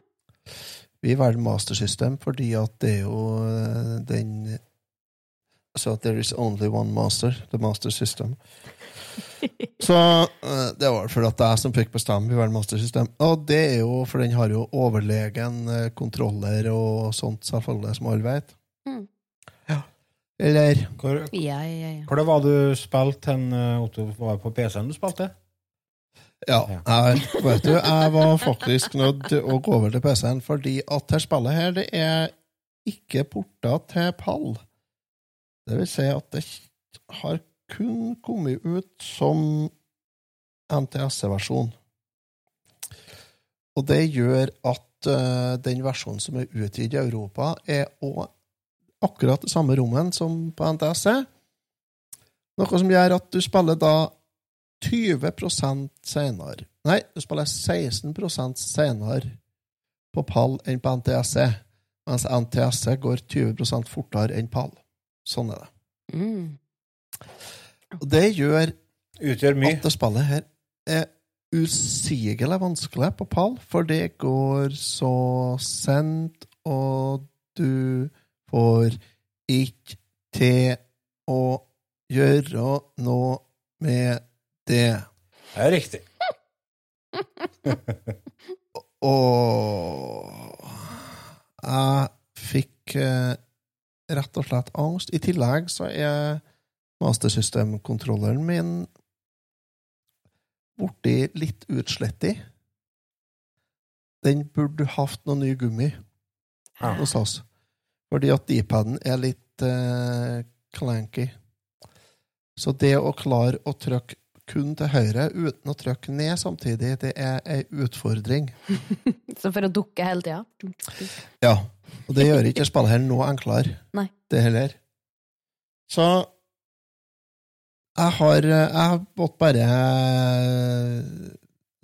[SPEAKER 4] Vi velger Master System fordi at det er jo eh, den Så at there is only one master, the master system. Så eh, det var for at jeg som fikk bestemme i Verden Master System. Og det er jo, for den har jo overlegen eh, kontroller og sånt, selvfølgelig, som alle vet.
[SPEAKER 3] Mm.
[SPEAKER 4] Ja. Eller
[SPEAKER 2] Hvor,
[SPEAKER 10] Ja, ja, ja.
[SPEAKER 2] hvor det var du spilte hen, eh, Otto? Var det på PC-en du spilte?
[SPEAKER 4] Ja. Jeg, vet du, jeg var faktisk nødt til å gå over til PC-en, fordi at dette spillet her, det er ikke porta til pall. Det vil si at det har kun kommet ut som NTSC-versjon. Og det gjør at eh, den versjonen som er utgitt i Europa, er også akkurat det samme rommen som på NTSC. Noe som gjør at du spiller da 20 senere Nei, du spiller 16 senere på pall enn på NTSC, mens NTSC går 20 fortere enn pall. Sånn er det.
[SPEAKER 10] Mm.
[SPEAKER 4] Og det gjør
[SPEAKER 2] Utgjør
[SPEAKER 4] at det spillet her er usigelig vanskelig på pall, for det går så sent, og du får ikke til å gjøre noe med det.
[SPEAKER 2] Det er riktig.
[SPEAKER 4] Og jeg fikk eh, rett og slett angst. I tillegg så er mastersystemkontrolleren min blitt litt utslettig. Den burde hatt noe ny gummi
[SPEAKER 2] Ja.
[SPEAKER 4] hos oss. Fordi at D-paden er litt eh, clanky. Så det å klare å trykke kun til høyre uten å trykke ned samtidig, det er ei utfordring.
[SPEAKER 10] Så for å dukke hele tida.
[SPEAKER 4] Ja, og det gjør ikke spillet her noe enklere.
[SPEAKER 10] Nei.
[SPEAKER 4] Det heller. Så jeg har Jeg måtte bare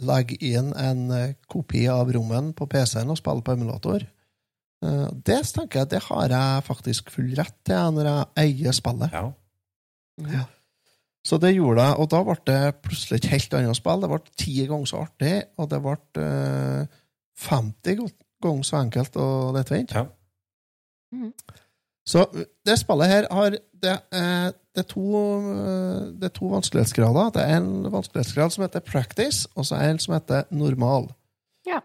[SPEAKER 4] legge inn en eh, kopi av rommen på PC-en og spille på emulator. Eh, Det tenker jeg, det har jeg faktisk full rett til jeg, når jeg eier spillet.
[SPEAKER 2] Ja.
[SPEAKER 4] Så det gjorde jeg, og da ble det plutselig et helt annet spill. Det ble ti ganger så artig, og det ble eh, 50 go- ganger så enkelt og lettvint.
[SPEAKER 2] Ja.
[SPEAKER 10] Mhm.
[SPEAKER 4] Så eh, det spillet her har det, eh, det, er to, eh, det er to vanskelighetsgrader. Det er en vanskelighetsgrad som heter practice, og så er en som heter normal.
[SPEAKER 10] Ja.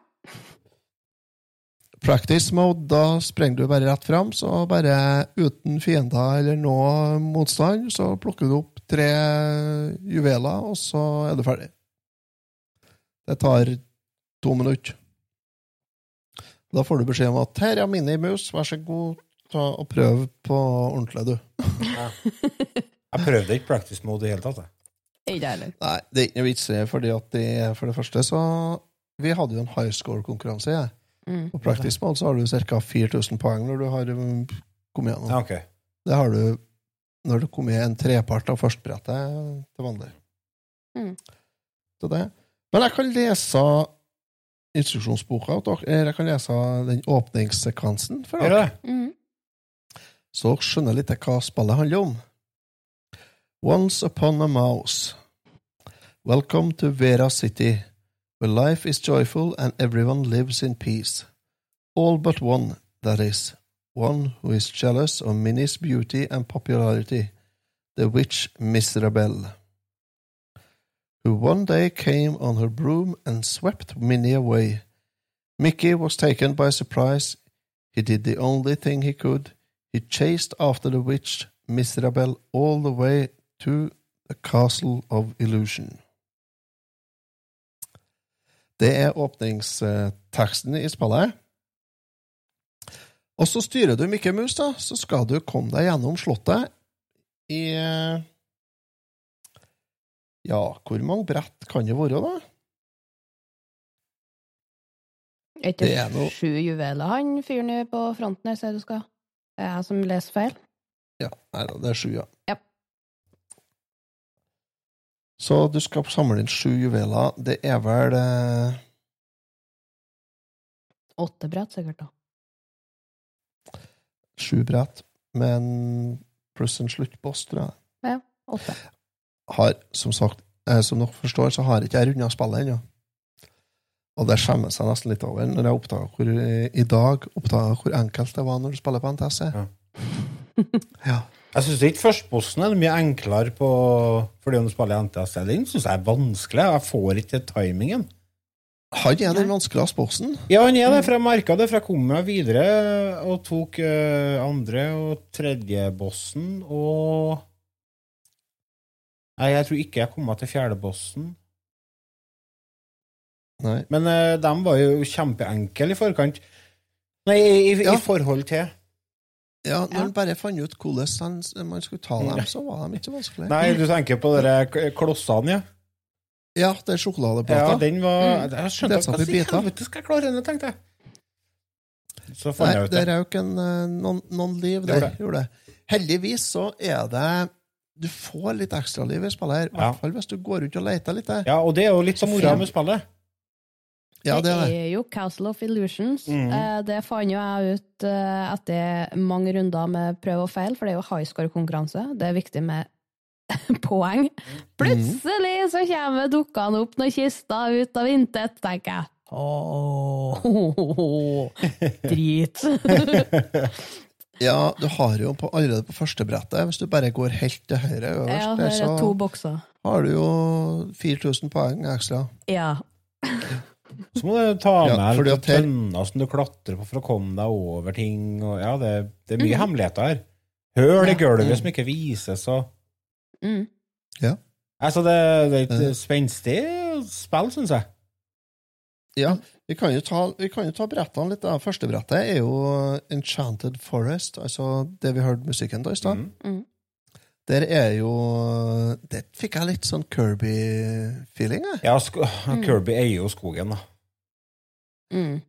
[SPEAKER 4] Practice mode, da sprenger du bare rett fram, så bare uten fiender eller noe motstand, så plukker du opp tre juveler, og så er du ferdig. Det tar to minutter. Da får du beskjed om at her er minimus, vær så god, ta og prøv på ordentlig, du.
[SPEAKER 2] Jeg prøvde ikke practice mode i det hele tatt. jeg.
[SPEAKER 10] Ikke jeg heller.
[SPEAKER 4] Nei, det er ikke noe vits i, fordi at det, for det første så Vi hadde jo en high score-konkurranse, jeg.
[SPEAKER 10] Mm.
[SPEAKER 4] På practice mode så har du ca. 4000 poeng når du har um, kommet gjennom.
[SPEAKER 2] Ja, ok.
[SPEAKER 4] Det har du når det kommer en trepart av førstbrettet til vanlig.
[SPEAKER 10] Mm.
[SPEAKER 4] Så det. Men jeg kan lese instruksjonsboka, til dere, eller jeg kan lese den åpningssekvensen for
[SPEAKER 2] Gjør
[SPEAKER 4] dere,
[SPEAKER 2] det?
[SPEAKER 10] Mm.
[SPEAKER 4] så dere skjønner litt hva spillet handler om. Once upon a mouse. Welcome to Vera City, where life is joyful and everyone lives in peace. All but one, that is. One who is jealous of Minnie's beauty and popularity, the witch Miserable, who one day came on her broom and swept Minnie away. Mickey was taken by surprise. He did the only thing he could. He chased after the witch Miserable all the way to the Castle of Illusion. Det er åpningsteksten i spillet. Og så styrer du Mikke Mus, da, så skal du komme deg gjennom slottet i eh, Ja, hvor mange brett kan det være, da?
[SPEAKER 10] Er ikke
[SPEAKER 4] Det er noe-
[SPEAKER 10] sju juveler han fyren i på fronten her sier du skal? Det er jeg som leser feil.
[SPEAKER 4] Ja, nei da, det er sju, ja.
[SPEAKER 10] Ja.
[SPEAKER 4] Så du skal samle inn sju juveler. Det er vel eh,
[SPEAKER 10] Åtte brett, sikkert. da.
[SPEAKER 4] sju brett, men pluss en sluttboss, tror jeg.
[SPEAKER 10] Åtte.
[SPEAKER 4] Har, som sagt, eh, som dere forstår, så har ikke jeg runda spillet ennå. Og det skjemmer jeg seg nesten litt over når jeg oppdager hvor, eh, i dag oppdager hvor enkelt det var når du spiller på NTSC.
[SPEAKER 2] Ja.
[SPEAKER 4] <laughs> ja.
[SPEAKER 2] Jeg syns ikke førstbossen er mye enklere på fordi om du spiller NTS. Den syns jeg er vanskelig. Jeg får ikke til timingen.
[SPEAKER 4] Han er den vanskeligste bossen.
[SPEAKER 2] Ja, han er det, for jeg merka det, for jeg kom meg videre og tok eh, andre og tredje bossen og Nei, jeg tror ikke jeg kom meg til fjerde bossen.
[SPEAKER 4] Nei.
[SPEAKER 2] Men eh, de var jo kjempeenkle i forkant. Nei, i, i,
[SPEAKER 4] Ja.
[SPEAKER 2] i forhold til
[SPEAKER 4] Ja, når han bare fant ut hvordan han- man skulle ta dem, så var de ikke vanskelige.
[SPEAKER 2] Nei, du tenker på de der k- klossene, ja.
[SPEAKER 4] Ja, det er
[SPEAKER 2] Ja,
[SPEAKER 4] sjokoladeplata.
[SPEAKER 2] den var Jeg skjønte
[SPEAKER 4] Det satt
[SPEAKER 2] hva
[SPEAKER 4] i
[SPEAKER 2] i
[SPEAKER 4] biter.
[SPEAKER 2] helvete skal jeg klare denne, tenkte jeg. Så fant
[SPEAKER 4] Nei,
[SPEAKER 2] jeg ut
[SPEAKER 4] det
[SPEAKER 2] det.
[SPEAKER 4] røk en, eh, noen, noen liv
[SPEAKER 2] Det
[SPEAKER 4] der.
[SPEAKER 2] gjorde
[SPEAKER 4] Gjorde det. Heldigvis så er det Du får litt ekstraliv i spillet her, i
[SPEAKER 2] Ja.
[SPEAKER 4] hvert fall hvis du går ut og leter litt der.
[SPEAKER 2] Ja, og det er jo litt som moroa med spillet.
[SPEAKER 4] Ja, det er det. Mm.
[SPEAKER 3] er jo Castle of Illusions.
[SPEAKER 2] Mhm.
[SPEAKER 3] Eh, Det fant jo jeg ut eh, etter mange runder med prøv og feil, for det er jo high score-konkurranse. Det er viktig med <laughs> poeng. Plutselig
[SPEAKER 4] Mm.
[SPEAKER 3] så kommer dukkene opp noen kister ut av intet, tenker jeg. Åh, <laughs>
[SPEAKER 4] <laughs>
[SPEAKER 3] drit.
[SPEAKER 4] Ja, du har jo på, allerede på første brettet, hvis du bare går helt til høyre øverst,
[SPEAKER 3] Ja,
[SPEAKER 4] der,
[SPEAKER 3] her er to
[SPEAKER 4] så
[SPEAKER 3] bokser.
[SPEAKER 4] har du jo 4000 poeng ekstra.
[SPEAKER 3] Ja.
[SPEAKER 2] Så må du ta
[SPEAKER 4] Ja,
[SPEAKER 2] med
[SPEAKER 4] fordi
[SPEAKER 2] ja,
[SPEAKER 4] at her-
[SPEAKER 2] tønner som du klatrer på for å komme deg over ting. Og, ja, det, det er mye
[SPEAKER 3] Mhm.
[SPEAKER 2] hemmeligheter her. Høl i gulvet som ikke vises og
[SPEAKER 3] Mm.
[SPEAKER 2] Altså, det, det er et
[SPEAKER 4] Ja.
[SPEAKER 2] eh, spenstig spill, syns jeg.
[SPEAKER 4] Ja, vi kan jo ta, vi kan jo ta brettene litt. Da. Første brettet er jo Enchanted Forest, altså det vi hørte musikken da i stad.
[SPEAKER 2] Mm.
[SPEAKER 4] Der er jo Der fikk jeg litt sånn Kirby-feeling, jeg.
[SPEAKER 2] Ja, sk Kirby eier jo skogen, da.
[SPEAKER 3] Mm.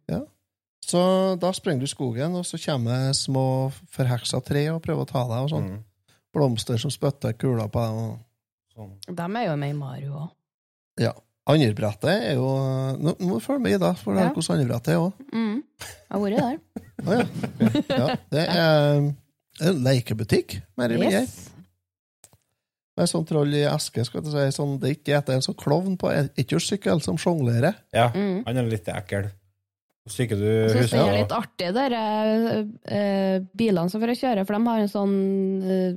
[SPEAKER 4] Så da springer du i skogen, og så kommer små forheksa tre og prøver å ta deg, og sånn.
[SPEAKER 2] Mm.
[SPEAKER 4] Blomster som spytter kuler på deg. og...
[SPEAKER 2] Sånn.
[SPEAKER 3] De er jo med i Mario òg.
[SPEAKER 4] Andre brettet er jo Nå, nå følg med, da, for det
[SPEAKER 3] Ja.
[SPEAKER 4] er hvordan andre brettet er òg.
[SPEAKER 3] Mm. Jeg har vært
[SPEAKER 4] <laughs>
[SPEAKER 3] der.
[SPEAKER 4] Å ja. ja. Det er en lekebutikk, mer eller mindre.
[SPEAKER 3] Yes.
[SPEAKER 4] Med sånn troll i eske, skal jeg si. Sånn, det er ikke det er en sånn klovn på ettjorssykkel som sjonglerer.
[SPEAKER 2] Ja,
[SPEAKER 3] Mm.
[SPEAKER 2] han er litt ekkel. Hvis ikke du
[SPEAKER 3] Jeg synes
[SPEAKER 2] husker
[SPEAKER 3] det er
[SPEAKER 2] det.
[SPEAKER 3] litt artig, de uh, bilene som får kjøre, for de har en sånn eh,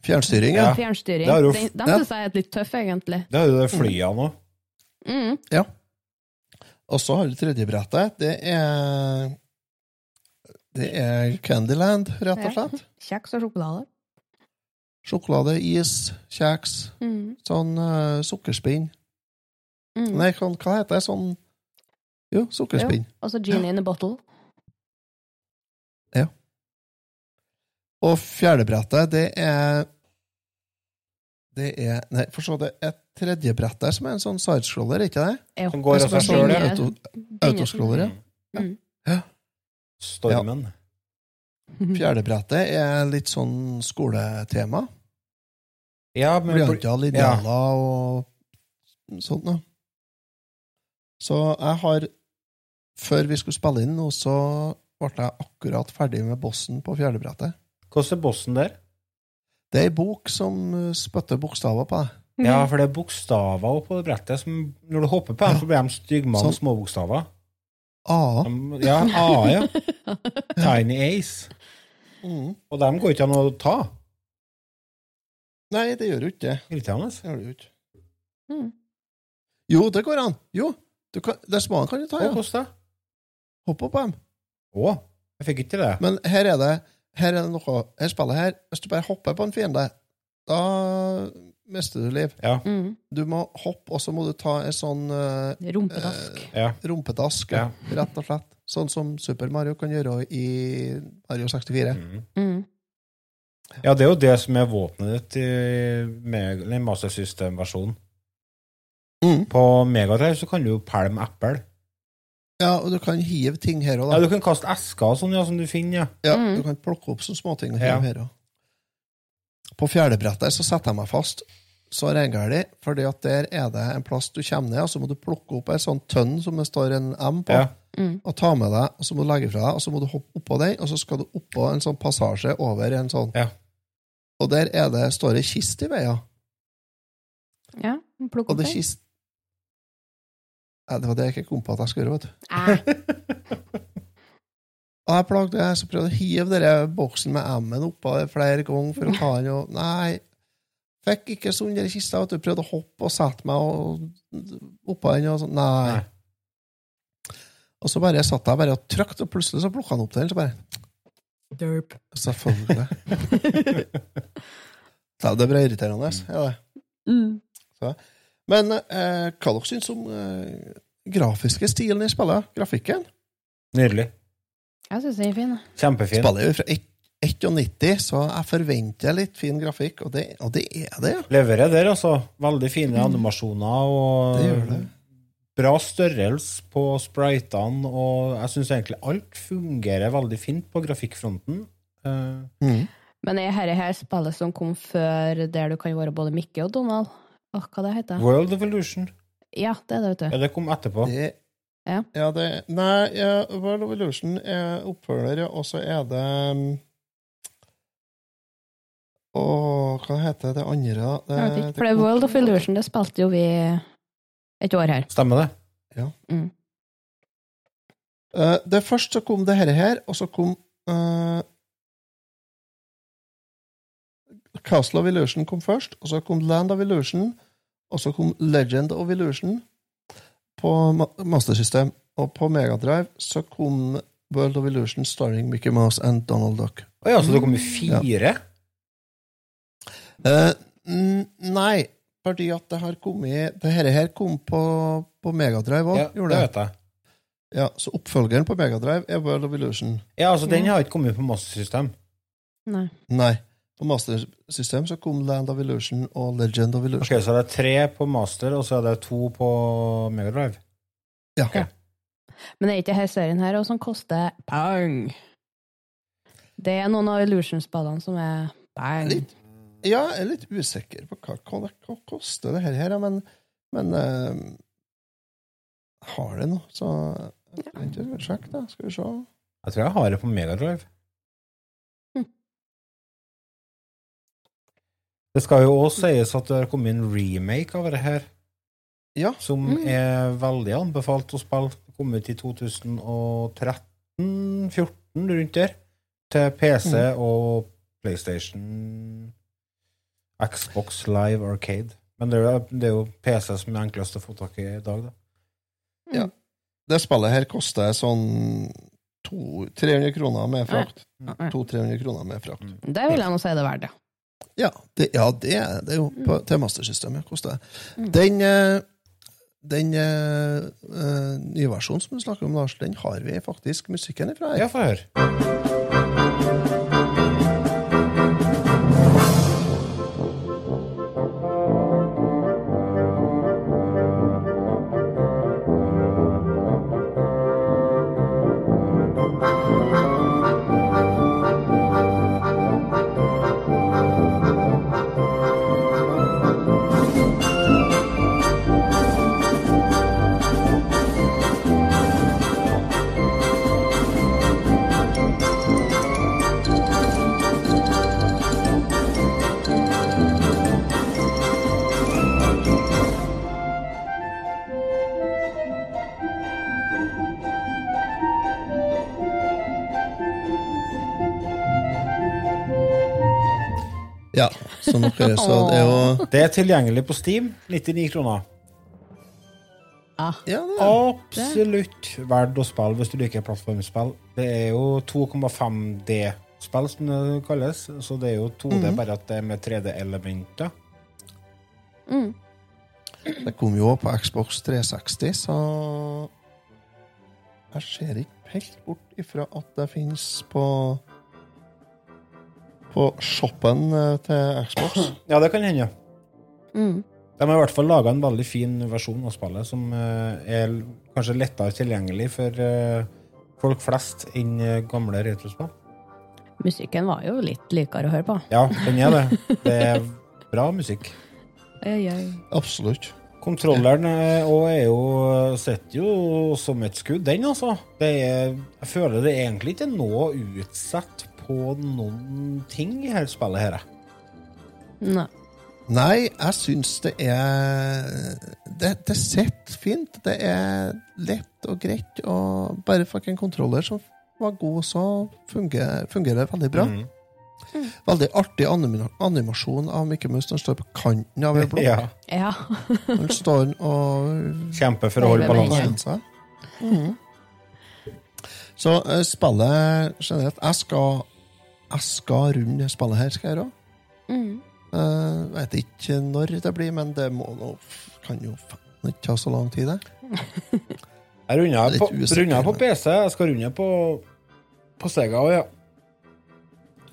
[SPEAKER 4] Fjernstyring, ja.
[SPEAKER 2] Ja.
[SPEAKER 3] fjernstyring.
[SPEAKER 2] det har jo-
[SPEAKER 3] De, de
[SPEAKER 4] ja.
[SPEAKER 3] synes jeg er litt tøffe, egentlig.
[SPEAKER 2] Det er jo det flyene òg.
[SPEAKER 3] Mm.
[SPEAKER 4] Og så har du tredjebrettet. Det er Det er Candyland, rett og
[SPEAKER 3] Ja.
[SPEAKER 4] slett.
[SPEAKER 3] Kjeks og sjokolade.
[SPEAKER 4] Sjokolade, is, kjeks,
[SPEAKER 3] Mm.
[SPEAKER 4] sånn eh, sukkerspinn.
[SPEAKER 3] Mm.
[SPEAKER 4] Nei, hva, hva heter det? Sånn Jo, sukkerspinn.
[SPEAKER 3] Og så genie in a bottle.
[SPEAKER 4] Og fjerdebrettet, det er Det er Nei, for så det er tredjebrettet som er en sånn sidescroller, ikke det?
[SPEAKER 3] Jo.
[SPEAKER 2] Som går av
[SPEAKER 4] Det som
[SPEAKER 2] seg
[SPEAKER 4] er
[SPEAKER 2] sjøl,
[SPEAKER 4] sånn
[SPEAKER 2] ja.
[SPEAKER 4] auto,
[SPEAKER 3] Genie-
[SPEAKER 4] autoscroller, ja.
[SPEAKER 2] Mm.
[SPEAKER 3] Mm.
[SPEAKER 2] Stormen.
[SPEAKER 3] Mm.
[SPEAKER 2] Mm.
[SPEAKER 4] Fjerdebrettet er litt sånn skoletema.
[SPEAKER 2] Ja, men
[SPEAKER 4] Blyanter, linjaler og sånt noe. Så jeg har Før vi skulle spille inn nå, så ble jeg akkurat ferdig med bossen på fjerdebrettet.
[SPEAKER 2] hvordan er bossen der?
[SPEAKER 4] Det er ei bok som eh, spytter bokstaver på deg.
[SPEAKER 2] Ja, for det er bokstaver oppe på det brettet. Som, når du hopper på dem,
[SPEAKER 4] Ja.
[SPEAKER 2] så blir de stygge
[SPEAKER 4] Sånn.
[SPEAKER 2] med småbokstaver.
[SPEAKER 4] A.
[SPEAKER 2] De- Ja, A, ja. Tiny Ace.
[SPEAKER 4] Mm.
[SPEAKER 2] Og dem går ikke an å ta.
[SPEAKER 4] Nei, det gjør jo ikke det.
[SPEAKER 2] Irriterende.
[SPEAKER 4] Det gjør det jo ikke.
[SPEAKER 3] Mm.
[SPEAKER 4] Jo, det går an! Jo! Du kan, det små kan du ta,
[SPEAKER 2] Å,
[SPEAKER 4] ja.
[SPEAKER 2] hvordan det?
[SPEAKER 4] Hopp opp på dem.
[SPEAKER 2] Å, jeg fikk ikke til det.
[SPEAKER 4] Men her er det her er det noe, her spillet her, hvis du bare hopper på en fiende, da mister du liv.
[SPEAKER 2] Ja,
[SPEAKER 3] Mm.
[SPEAKER 4] Du må hoppe, og så må du ta en sånn eh,
[SPEAKER 3] Rumpedask.
[SPEAKER 2] ja.
[SPEAKER 4] rumpedask, ja. rett og slett. Sånn som Super Mario kan gjøre i Mario 64.
[SPEAKER 2] Mm.
[SPEAKER 3] Mm.
[SPEAKER 2] Ja, det er jo det som er våpenet ditt i Meg- nei, Master System-versjonen.
[SPEAKER 4] Mm.
[SPEAKER 2] På Megadrive så kan du jo pælme eple.
[SPEAKER 4] Ja, og du kan hive ting her òg,
[SPEAKER 2] Ja,
[SPEAKER 4] da.
[SPEAKER 2] du kan kaste esker og sånn, ja, som du finner, ja.
[SPEAKER 4] Ja,
[SPEAKER 3] Mm.
[SPEAKER 4] du kan plukke opp sånne småting og hive
[SPEAKER 2] Ja.
[SPEAKER 4] her òg. På fjerdebrettet så setter jeg meg fast så reingæli, fordi at der er det en plass du kommer ned, og så må du plukke opp ei sånn tønn som det står en M på.
[SPEAKER 2] Ja.
[SPEAKER 3] Mm.
[SPEAKER 4] og ta med deg, og så må du legge fra deg, og så må du hoppe oppå den, og så skal du oppå en sånn passasje over en sånn.
[SPEAKER 2] Ja.
[SPEAKER 4] Og der er det, står det kist i veia.
[SPEAKER 3] Ja, plukk
[SPEAKER 4] Og
[SPEAKER 3] opp
[SPEAKER 4] det
[SPEAKER 3] det.
[SPEAKER 4] kist... Nei, det var det jeg ikke kom på at jeg skulle gjøre, vet du.
[SPEAKER 3] Eh,
[SPEAKER 4] Og jeg plagde jeg, så prøvde jeg å hive dere boksen med M-en oppå det flere ganger for å ta den, og nei, fikk ikke sånn der kista, vet du, prøvde å hoppe og sette meg og oppå den, og sånn, nei.
[SPEAKER 2] Nei.
[SPEAKER 4] Og så bare satt jeg bare og trykte, og plutselig så plukka han opp den. Så bare
[SPEAKER 3] Derp.
[SPEAKER 4] Selvfølgelig. <laughs> Ja, det blir irriterende. Ja, det.
[SPEAKER 3] Mm.
[SPEAKER 4] Så. Men eh, hva dere syns om eh, grafiske stilen i spillet? Grafikken?
[SPEAKER 2] Nydelig.
[SPEAKER 10] Jeg syns den er fin. jeg.
[SPEAKER 2] Kjempefin.
[SPEAKER 4] Spillet er jo fra ett- 91, så jeg forventer litt fin grafikk, og det, og det er det, ja.
[SPEAKER 2] Leverer der, altså. Veldig fine animasjoner og
[SPEAKER 4] Mm. Det gjør det.
[SPEAKER 2] bra størrelse på spritene, og jeg syns egentlig alt fungerer veldig fint på grafikkfronten. Eh,
[SPEAKER 3] Men er dette her spillet som kom før, der du kan være både Mikke og Donald? Åh, hva det heter
[SPEAKER 2] World Evolution.
[SPEAKER 3] Ja, det er det,
[SPEAKER 4] Eh,
[SPEAKER 3] vet du.
[SPEAKER 2] Ja, det kom etterpå.
[SPEAKER 4] Det,
[SPEAKER 3] Ja.
[SPEAKER 4] det Nei, ja, World of Illusion er oppfølger, ja, og så er det um, Å, hva heter det andre, da? Det-
[SPEAKER 3] Jeg vet ikke,
[SPEAKER 4] det-
[SPEAKER 3] for det er World of Illusion, det spilte jo vi et år her.
[SPEAKER 2] Stemmer det?
[SPEAKER 4] Eh, det Først så kom det herre her, og så kom eh, Castle of Illusion kom først, og så kom Land of Illusion, og så kom Legend of Illusion på ma- Master System. Og på Megadrive så kom World of Illusion starring Mickey Mouse and Donald Duck.
[SPEAKER 2] Å ja, så det kom
[SPEAKER 4] Mm.
[SPEAKER 2] i fire?
[SPEAKER 4] Eh, n- nei, fordi at det har kommet Det herre her kom på, på Megadrive òg,
[SPEAKER 2] Ja, det
[SPEAKER 4] gjorde det.
[SPEAKER 2] vet jeg.
[SPEAKER 4] Ja, så oppfølgeren på Megadrive er World of Illusion.
[SPEAKER 2] Ja, altså, den har ikke kommet på mastersystem.
[SPEAKER 3] Nei.
[SPEAKER 4] Nei. På Master System så kom Land of Illusion og Legend of
[SPEAKER 2] Ok,
[SPEAKER 4] Illusion.
[SPEAKER 2] så det er tre på master, og så er det to på Megadrive.
[SPEAKER 4] Ja.
[SPEAKER 2] Ja.
[SPEAKER 3] Men er ikke denne serien her også som koster bang? Det er noen av Illusion-spillene som er bang.
[SPEAKER 4] Litt. ja, jeg er litt usikker på hva, hva, det- hva koster det her, her ja, men, men eh, har det noe, så vent, jeg skal sjekke da, skal vi se.
[SPEAKER 2] Jeg tror jeg har det på Megadrive.
[SPEAKER 3] Hm.
[SPEAKER 2] Det skal jo òg sies at det har kommet en remake av det her,
[SPEAKER 4] Ja,
[SPEAKER 2] som er veldig anbefalt å spille. Det kom ut i 2013-14, rundt der, til PC og PlayStation, Xbox Live Arcade. Men det er, jo- det er jo PC som er enklest å få tak i i dag, da.
[SPEAKER 4] det spillet her koster sånn to, 300 kroner med frakt.
[SPEAKER 3] Mm.
[SPEAKER 4] 200-300 kroner med frakt.
[SPEAKER 3] Det vil jeg nå si det er verdt, ja.
[SPEAKER 4] Ja, det, ja, det, er- det er jo på, til mastersystemet. Koster det. Den, eh, den eh, eh, nye versjonen som du snakker om, Lars, den har vi faktisk musikken ifra. her.
[SPEAKER 2] Ja, få høre.
[SPEAKER 4] Ja, så nok er det, så det er jo
[SPEAKER 2] Det er tilgjengelig på Steam. 99 kroner.
[SPEAKER 4] ja, det er.
[SPEAKER 2] Absolutt verdt å spille hvis du liker plattformspill. Det er jo 2,5D-spill, som det kalles. Så det er jo 2D, bare at det er med 3D-elementer.
[SPEAKER 4] Det kom jo også på Xbox 360, så jeg ser ikke helt bort ifra at det finnes på på shoppen eh, til Xbox.
[SPEAKER 2] Ja, det kan hende.
[SPEAKER 3] Mm.
[SPEAKER 2] De har i hvert fall laga en veldig fin versjon av spillet, som eh, er l- kanskje lettere tilgjengelig for eh, folk flest enn eh, gamle retrospill.
[SPEAKER 3] Musikken var jo litt likere å høre på.
[SPEAKER 2] Ja, den er det. Det er bra musikk.
[SPEAKER 4] Absolutt.
[SPEAKER 2] Kontrolleren eh, og er jo sitter jo som et skudd, den, altså. Det er, jeg føler det egentlig ikke er noe utsatt på noen ting i dette spillet. her. jeg.
[SPEAKER 3] Nei.
[SPEAKER 4] Nei, jeg syns det er Det, det sitter fint. Det er lett og greit. Og bare fucking kontroller som var god, så fungerer, fungerer det veldig bra.
[SPEAKER 2] Mm.
[SPEAKER 4] Veldig artig anima animasjon av Mikke Mus når han står på kanten av en
[SPEAKER 2] <laughs>
[SPEAKER 4] blokk.
[SPEAKER 2] Ja.
[SPEAKER 3] Ja.
[SPEAKER 4] Når han står og
[SPEAKER 2] Kjemper for å holde
[SPEAKER 3] Nei, men-
[SPEAKER 2] balansen.
[SPEAKER 4] balanser. Mm. Så eh, spillet generelt Jeg skal, jeg skal runde det spillet her, skal jeg gjøre.
[SPEAKER 3] Mm.
[SPEAKER 4] Uh, vet ikke når det blir, men det må nå kan jo faen ikke ta så lang tid, det.
[SPEAKER 2] Jeg runder
[SPEAKER 4] Litt
[SPEAKER 2] på,
[SPEAKER 4] usikker,
[SPEAKER 2] runder på
[SPEAKER 4] men-
[SPEAKER 2] PC. Jeg skal runde på, på Sega òg, ja.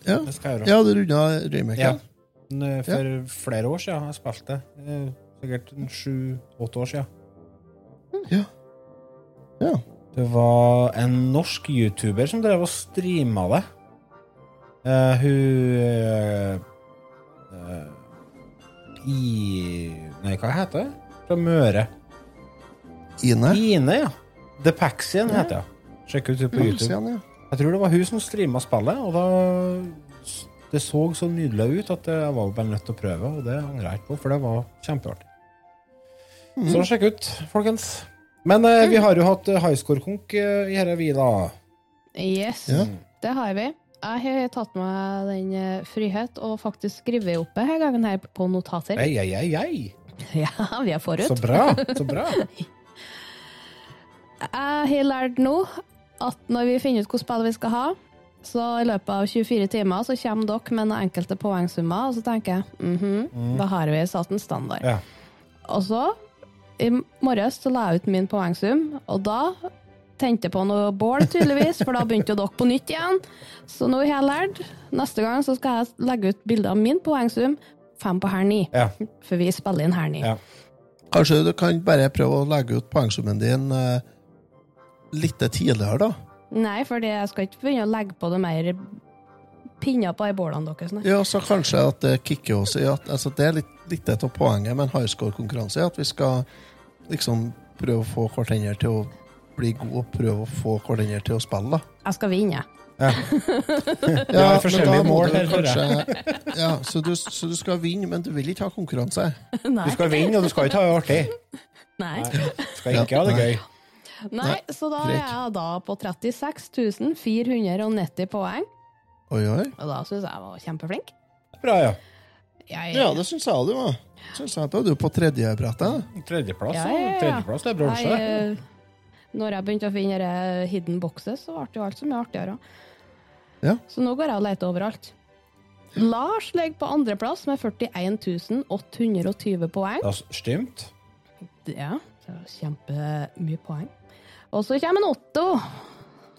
[SPEAKER 4] Ja,
[SPEAKER 2] Det skal jeg gjøre.
[SPEAKER 4] ja du runda remaken?
[SPEAKER 2] Men, eh, For flere år siden jeg spilte det. Eh, Sikkert sju-åtte år siden.
[SPEAKER 4] Ja. Ja.
[SPEAKER 2] Det var en norsk YouTuber som drev og streama det. Eh, hun eh, eh, I Nei, hva heter det? Fra Møre.
[SPEAKER 4] Ine?
[SPEAKER 2] Ine, ja. Depaxian heter hun. Sjekk ut det på YouTube.
[SPEAKER 4] Sier han, ja.
[SPEAKER 2] Jeg tror det var hun som streama spillet, og da det så så nydelig ut at jeg var bare nødt til å prøve, og det angrer jeg ikke på, for det var kjempeartig. Så sjekk ut, folkens. Men eh, vi har jo hatt eh, highscore-konk eh, i dette, vi, da.
[SPEAKER 3] Yes,
[SPEAKER 4] Ja.
[SPEAKER 3] det har vi. Jeg har tatt meg den eh, frihet og faktisk skrevet opp denne gangen her på notater.
[SPEAKER 2] Ei, ei, ei, ei.
[SPEAKER 3] <laughs> Ja, vi er forut.
[SPEAKER 2] Så bra. Så
[SPEAKER 3] <laughs>
[SPEAKER 2] bra.
[SPEAKER 3] Jeg har lært nå at når vi finner ut hvilket spill vi skal ha, så i løpet av 24 timer så kommer dere med noen enkelte poengsummer, og så tenker jeg mhm, da har vi satt en standard.
[SPEAKER 2] Mm. Ja.
[SPEAKER 3] Og så, i morges, så la jeg ut min poengsum, og da tente jeg på noe bål, tydeligvis, for da begynte jo dere på nytt igjen. Så nå har jeg lært. Neste gang så skal jeg legge ut bilde av min poengsum, fem på her ni,
[SPEAKER 2] Ja.
[SPEAKER 3] for vi spiller inn her ni.
[SPEAKER 2] Ja.
[SPEAKER 4] Kanskje du kan bare prøve å legge ut poengsummen din eh, litt tidligere, da?
[SPEAKER 3] Nei, for jeg skal ikke begynne å legge på det mer pinner på de bålene deres. Nei.
[SPEAKER 4] Ja, så kanskje at det kicker oss i at altså, Det er litt, litt et av poenget med en highscore-konkurranse, at vi skal liksom prøve å få hverandre til å bli gode og prøve å få hverandre til å spille, da.
[SPEAKER 3] Jeg skal vinne.
[SPEAKER 2] Vi har forskjellige mål her, hører
[SPEAKER 4] ja, så, du, så du skal vinne, men du vil ikke ha konkurranse.
[SPEAKER 2] Du skal vinne, og du skal ikke ha det artig.
[SPEAKER 3] Nei.
[SPEAKER 2] Du skal ikke ha det gøy.
[SPEAKER 3] Nei, så da er
[SPEAKER 4] greit.
[SPEAKER 3] jeg da på 36 490 poeng,
[SPEAKER 4] Oi, oi.
[SPEAKER 3] og da syns jeg jeg var kjempeflink.
[SPEAKER 2] Bra, ja.
[SPEAKER 3] Jeg,
[SPEAKER 4] Ja, det syns jeg du var. Syns jeg da du er på tredjebrettet.
[SPEAKER 2] Tredjeplass,
[SPEAKER 3] Ja,
[SPEAKER 2] ja.
[SPEAKER 3] ja, ja.
[SPEAKER 2] Tredjeplass, det er bronse.
[SPEAKER 3] Jeg, eh, når jeg begynte å finne eh, hidden boxes, så ble det jo alt så mye artigere.
[SPEAKER 4] Ja.
[SPEAKER 3] Så nå går jeg og leter overalt. Lars ligger på andreplass med 41 820 poeng.
[SPEAKER 2] Da Stimt.
[SPEAKER 3] Ja, det var kjempemye poeng. Og så kommer en Otto.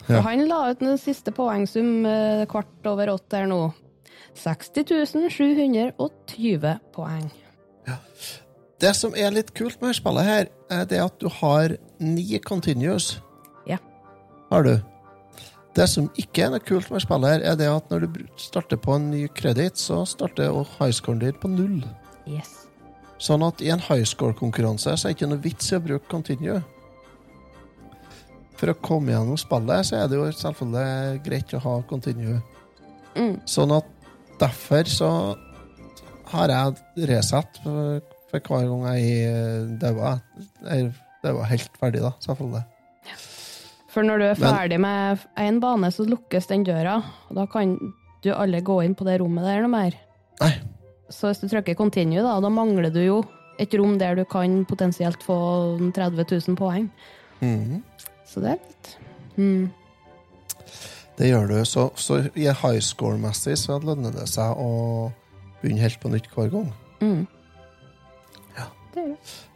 [SPEAKER 4] Ja.
[SPEAKER 3] Og Han la ut den siste poengsum eh, kvart over åtte her nå. 60 720 poeng.
[SPEAKER 4] Det som er litt kult med dette spillet, her, er det at du har ni continuous.
[SPEAKER 3] Ja.
[SPEAKER 4] Har du. Det som ikke er noe kult med spillet, her, er det at når du br- starter på en ny kreditt, så starter jo highscoren din på null.
[SPEAKER 3] Yes.
[SPEAKER 4] Sånn at i en highscore-konkurranse så er det ikke noe vits i å bruke continue. For å komme gjennom spillet så er det jo selvfølgelig greit å ha continue.
[SPEAKER 3] Mm.
[SPEAKER 4] Sånn at derfor så har jeg resatt for, for hver gang jeg daua. Jeg daua helt ferdig, da, selvfølgelig.
[SPEAKER 3] For når du er
[SPEAKER 4] Men-
[SPEAKER 3] ferdig med én bane, så lukkes den døra. Og da kan du alle gå inn på det rommet der noe mer.
[SPEAKER 4] Nei.
[SPEAKER 3] Så hvis du trykker continue, da, da mangler du jo et rom der du kan potensielt få 30 000 poeng.
[SPEAKER 4] Mm.
[SPEAKER 3] Så det er litt mm.
[SPEAKER 4] Det gjør du. Så, så i highscore-messig så lønner det seg å begynne helt på nytt hver gang.
[SPEAKER 3] Mm.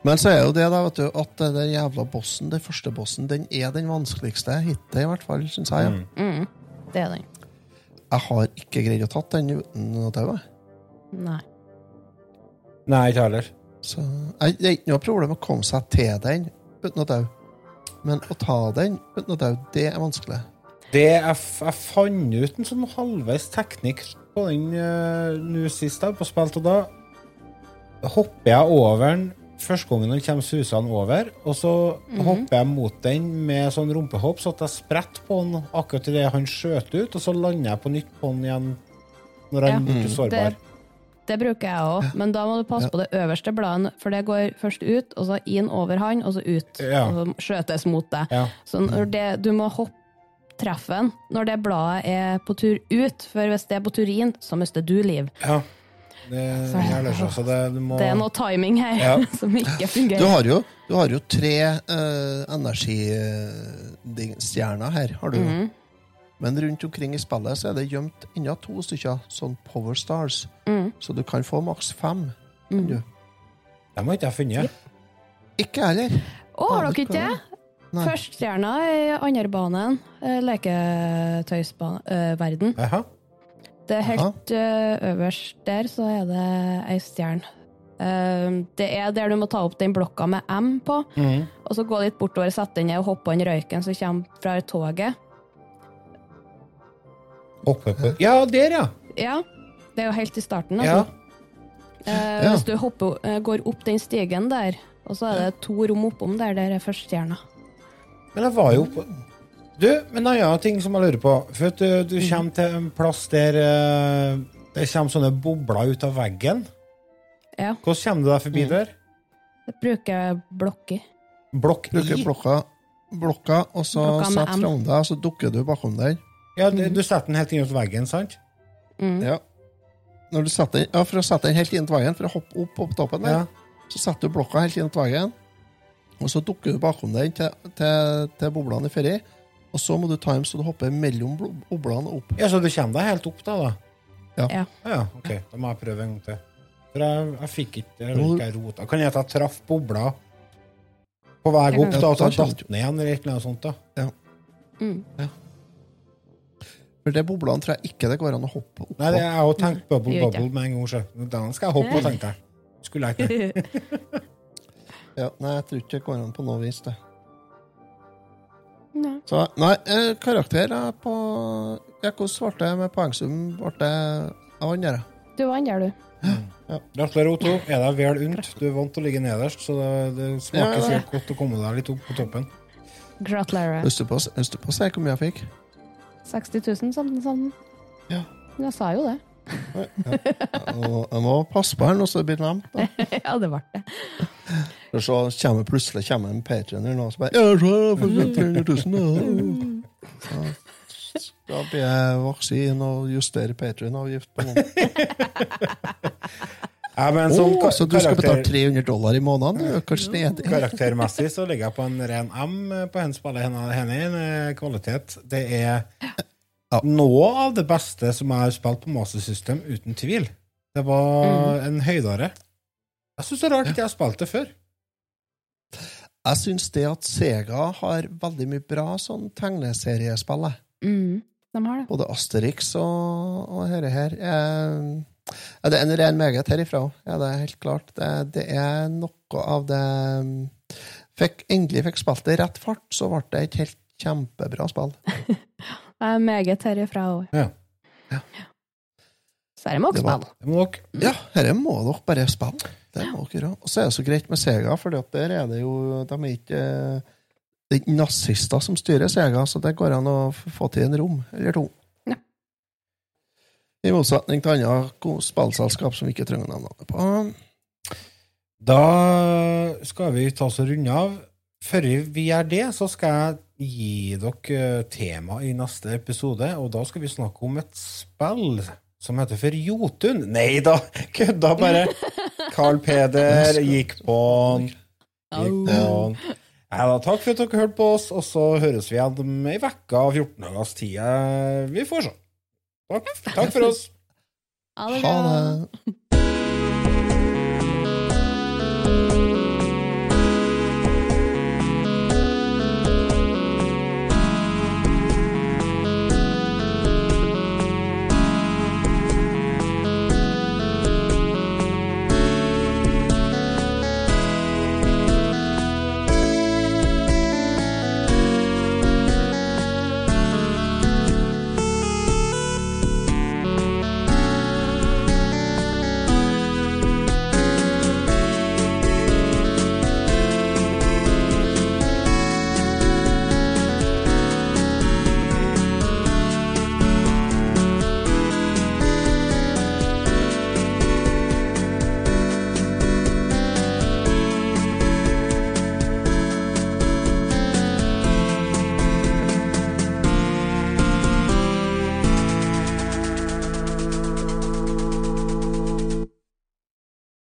[SPEAKER 4] Men så er jo det da, vet du, at den jævla bossen, den første bossen, den er den vanskeligste hittil, i hvert fall, syns jeg. ja.
[SPEAKER 3] Mm. Det er den.
[SPEAKER 4] Jeg har ikke greid å tatt den uten å daue.
[SPEAKER 3] Nei.
[SPEAKER 2] Nei, ikke heller.
[SPEAKER 4] Så jeg, det er ikke noe problem å komme seg til den uten å daue. Men å ta den uten å daue, det er vanskelig.
[SPEAKER 2] Det jeg, f- jeg fant ut en sånn halvveis teknikk på den eh, nå sist jeg var på spilt, og da hopper jeg over den første gangen den kommer susende over, og så
[SPEAKER 3] Mhm.
[SPEAKER 2] hopper jeg mot den med sånn rumpehopp, så at jeg spretter på den akkurat idet han skjøt ut, og så lander jeg på nytt på den igjen når han
[SPEAKER 3] Ja, Mm.
[SPEAKER 2] blir sårbar.
[SPEAKER 3] det- Det bruker jeg òg, men da må du passe på det øverste bladet, for det går først ut, og så inn over han, og så ut.
[SPEAKER 2] Ja.
[SPEAKER 3] Og så skjøtes mot deg.
[SPEAKER 2] Ja.
[SPEAKER 3] Så når det, du må hoppe treffe den når det bladet er på tur ut, for hvis det er på tur inn, så mister du liv.
[SPEAKER 2] Ja. Det, jeg løser, så det, du må,
[SPEAKER 3] Det er noe timing her
[SPEAKER 2] Ja.
[SPEAKER 3] <laughs> som ikke
[SPEAKER 4] Du
[SPEAKER 3] fungerer.
[SPEAKER 4] har jo, du har jo tre eh, energistjerner her, har du. jo.
[SPEAKER 3] Mm-hmm. Mhm.
[SPEAKER 4] Men rundt omkring i spillet så er det gjemt ennå to stykker sånn Power Stars.
[SPEAKER 3] Mm.
[SPEAKER 4] Så du kan få maks fem.
[SPEAKER 3] Mhm.
[SPEAKER 4] kan Du.
[SPEAKER 2] Dem har ikke jeg funnet.
[SPEAKER 4] Ikke jeg heller.
[SPEAKER 3] Å, har dere ikke det?
[SPEAKER 4] Nei.
[SPEAKER 3] Førststjerna i andre banen, eh, leketøysverden.
[SPEAKER 2] Aha.
[SPEAKER 3] Det er helt eh, øverst der, så er det ei stjerne. Eh, det er der du må ta opp den blokka med M på,
[SPEAKER 2] Mm.
[SPEAKER 3] og så gå litt bortover, sette den ned og hoppe den røyken som kommer fra toget.
[SPEAKER 2] Oppe på Ja, der, ja!
[SPEAKER 3] Ja, det er jo helt i starten.
[SPEAKER 2] ja.
[SPEAKER 3] Altså. Eh,
[SPEAKER 4] Ja.
[SPEAKER 3] Hvis du hopper, eh, går opp den stigen der, og så er det to rom oppom der, der er førststjerna.
[SPEAKER 2] Men jeg var jo på Du, men en annen ting som jeg lurer på For at eh, du, du
[SPEAKER 3] Mhm.
[SPEAKER 2] kommer til en plass der eh, det kommer sånne bobler ut av veggen.
[SPEAKER 3] Ja. Mhm.
[SPEAKER 2] Hvordan kommer du deg forbi der?
[SPEAKER 3] Jeg bruker <laughs> blokker.
[SPEAKER 2] Blokk
[SPEAKER 4] Bruker
[SPEAKER 2] I?
[SPEAKER 4] blokka, blokka og så
[SPEAKER 3] Blokka med
[SPEAKER 4] setter
[SPEAKER 3] M.
[SPEAKER 4] fram deg, så dukker du bakom der.
[SPEAKER 2] Ja,
[SPEAKER 4] Mhm.
[SPEAKER 2] du, du setter den helt inn mot veggen, sant?
[SPEAKER 3] Mm.
[SPEAKER 4] Ja. Når du setter, ja, for å sette den helt inn til veien, for å hoppe opp på toppen der,
[SPEAKER 2] Ja.
[SPEAKER 4] så setter du blokka helt inn til veien, og så dukker du bakom den til, til, til boblene i ferie, og så må du time så du hopper mellom blo- boblene opp.
[SPEAKER 2] ja, så du kommer deg helt opp, da? da. Ah,
[SPEAKER 4] Ja.
[SPEAKER 3] Ja.
[SPEAKER 2] ja ok, Da må jeg prøve en gang til. For jeg, jeg fikk ikke jeg
[SPEAKER 4] Nå
[SPEAKER 2] vet
[SPEAKER 4] må du-
[SPEAKER 2] ikke jeg rota. Kan hende at jeg traff bobla på vei opp, da, og så
[SPEAKER 4] Ja, da
[SPEAKER 2] jeg
[SPEAKER 4] skjønner
[SPEAKER 2] datt ned igjen, eller et eller annet sånt. da.
[SPEAKER 3] Mm.
[SPEAKER 4] For det er boblene tror jeg ikke det går an å hoppe opp på.
[SPEAKER 2] Nei, det, jeg har jo tenkt bubble
[SPEAKER 3] Det gjør ikke
[SPEAKER 2] bubble med en gang. så Den skal jeg hoppe på, tenkte jeg. Skulle jeg ikke.
[SPEAKER 4] Ja, nei, jeg tror ikke det går an på noe vis, det.
[SPEAKER 3] Nei.
[SPEAKER 4] Så, nei, eh, karakterer på Ja, hvordan ble det med poengsum? Ble det av andre?
[SPEAKER 3] Du vant der, du.
[SPEAKER 2] Gratulerer, Otto. Er deg vel unt. Du er vant til å ligge nederst, så det, det
[SPEAKER 4] Ja,
[SPEAKER 2] smaker
[SPEAKER 4] det-
[SPEAKER 2] sikkert godt å komme deg litt opp på toppen.
[SPEAKER 3] Gratulerer.
[SPEAKER 4] Husker du på husker du på å si hvor mye jeg fikk?
[SPEAKER 3] 60 000, sånn, sånn.
[SPEAKER 4] Ja.
[SPEAKER 3] Jeg sa jo det.
[SPEAKER 4] Og jeg må passe på her nå, så det blir nevnt. da.
[SPEAKER 3] <laughs> Ja, det ble det.
[SPEAKER 4] For så kommer plutselig kommer en patrioner nå som bare «Ja, så er det for 300 000, ja. Så Da blir jeg vaksin og justerer patrionavgift på noen.
[SPEAKER 2] Ja, men sånn
[SPEAKER 4] Åh,
[SPEAKER 2] ka-
[SPEAKER 4] så du skal betale
[SPEAKER 2] karakter,
[SPEAKER 4] 300 dollar i måneden? du, Kanskje det er det?
[SPEAKER 2] karaktermessig så ligger jeg på en ren M på hennes spille. Henne, henne er en eh, kvalitet. Det er noe av det beste som jeg har spilt på Master System, uten tvil. Det var en høydare. Jeg syns det er rart ikke jeg har spilt det før.
[SPEAKER 4] Jeg syns det at Sega har veldig mye bra sånn tegneseriespill. jeg.
[SPEAKER 3] Mm. De har det.
[SPEAKER 4] Både Asterix og, og her, her. Eh, Ja, det er en ren meget herifra òg. Ja, det er helt klart. Det, det er noe av det mm, fikk, Endelig fikk spilt det i rett fart, så ble det et helt kjempebra spill.
[SPEAKER 3] Jeg er meget herifra òg.
[SPEAKER 2] Ja.
[SPEAKER 4] Ja.
[SPEAKER 3] Så er det med
[SPEAKER 4] Det var-
[SPEAKER 3] Oksball.
[SPEAKER 2] Det må nok
[SPEAKER 4] Ja, dette må dere bare spille. Det må dere gjøre. Og så er det så greit med Sega, for der er det jo De er ikke eh, det er ikke nazister som styrer Sega, så det går an å f- få til en rom eller to.
[SPEAKER 3] Ja.
[SPEAKER 4] I motsetning til andre ko- spillselskap som vi ikke trenger å nevne navnet på.
[SPEAKER 2] Da skal vi ta oss og runde av. Før vi gjør det, så skal jeg gi dere eh, tema i neste episode, og da skal vi snakke om et spill som heter for Jotun. Nei da, kødda bare! Carl Peder gikk på'n. Gikk på'n. Nei da, takk for at dere hørte på oss, og så høres vi igjen om ei uke av 14 dagers tid. Vi får se. Takk, takk for oss.
[SPEAKER 3] Ha
[SPEAKER 4] Ha
[SPEAKER 3] det bra.
[SPEAKER 4] det!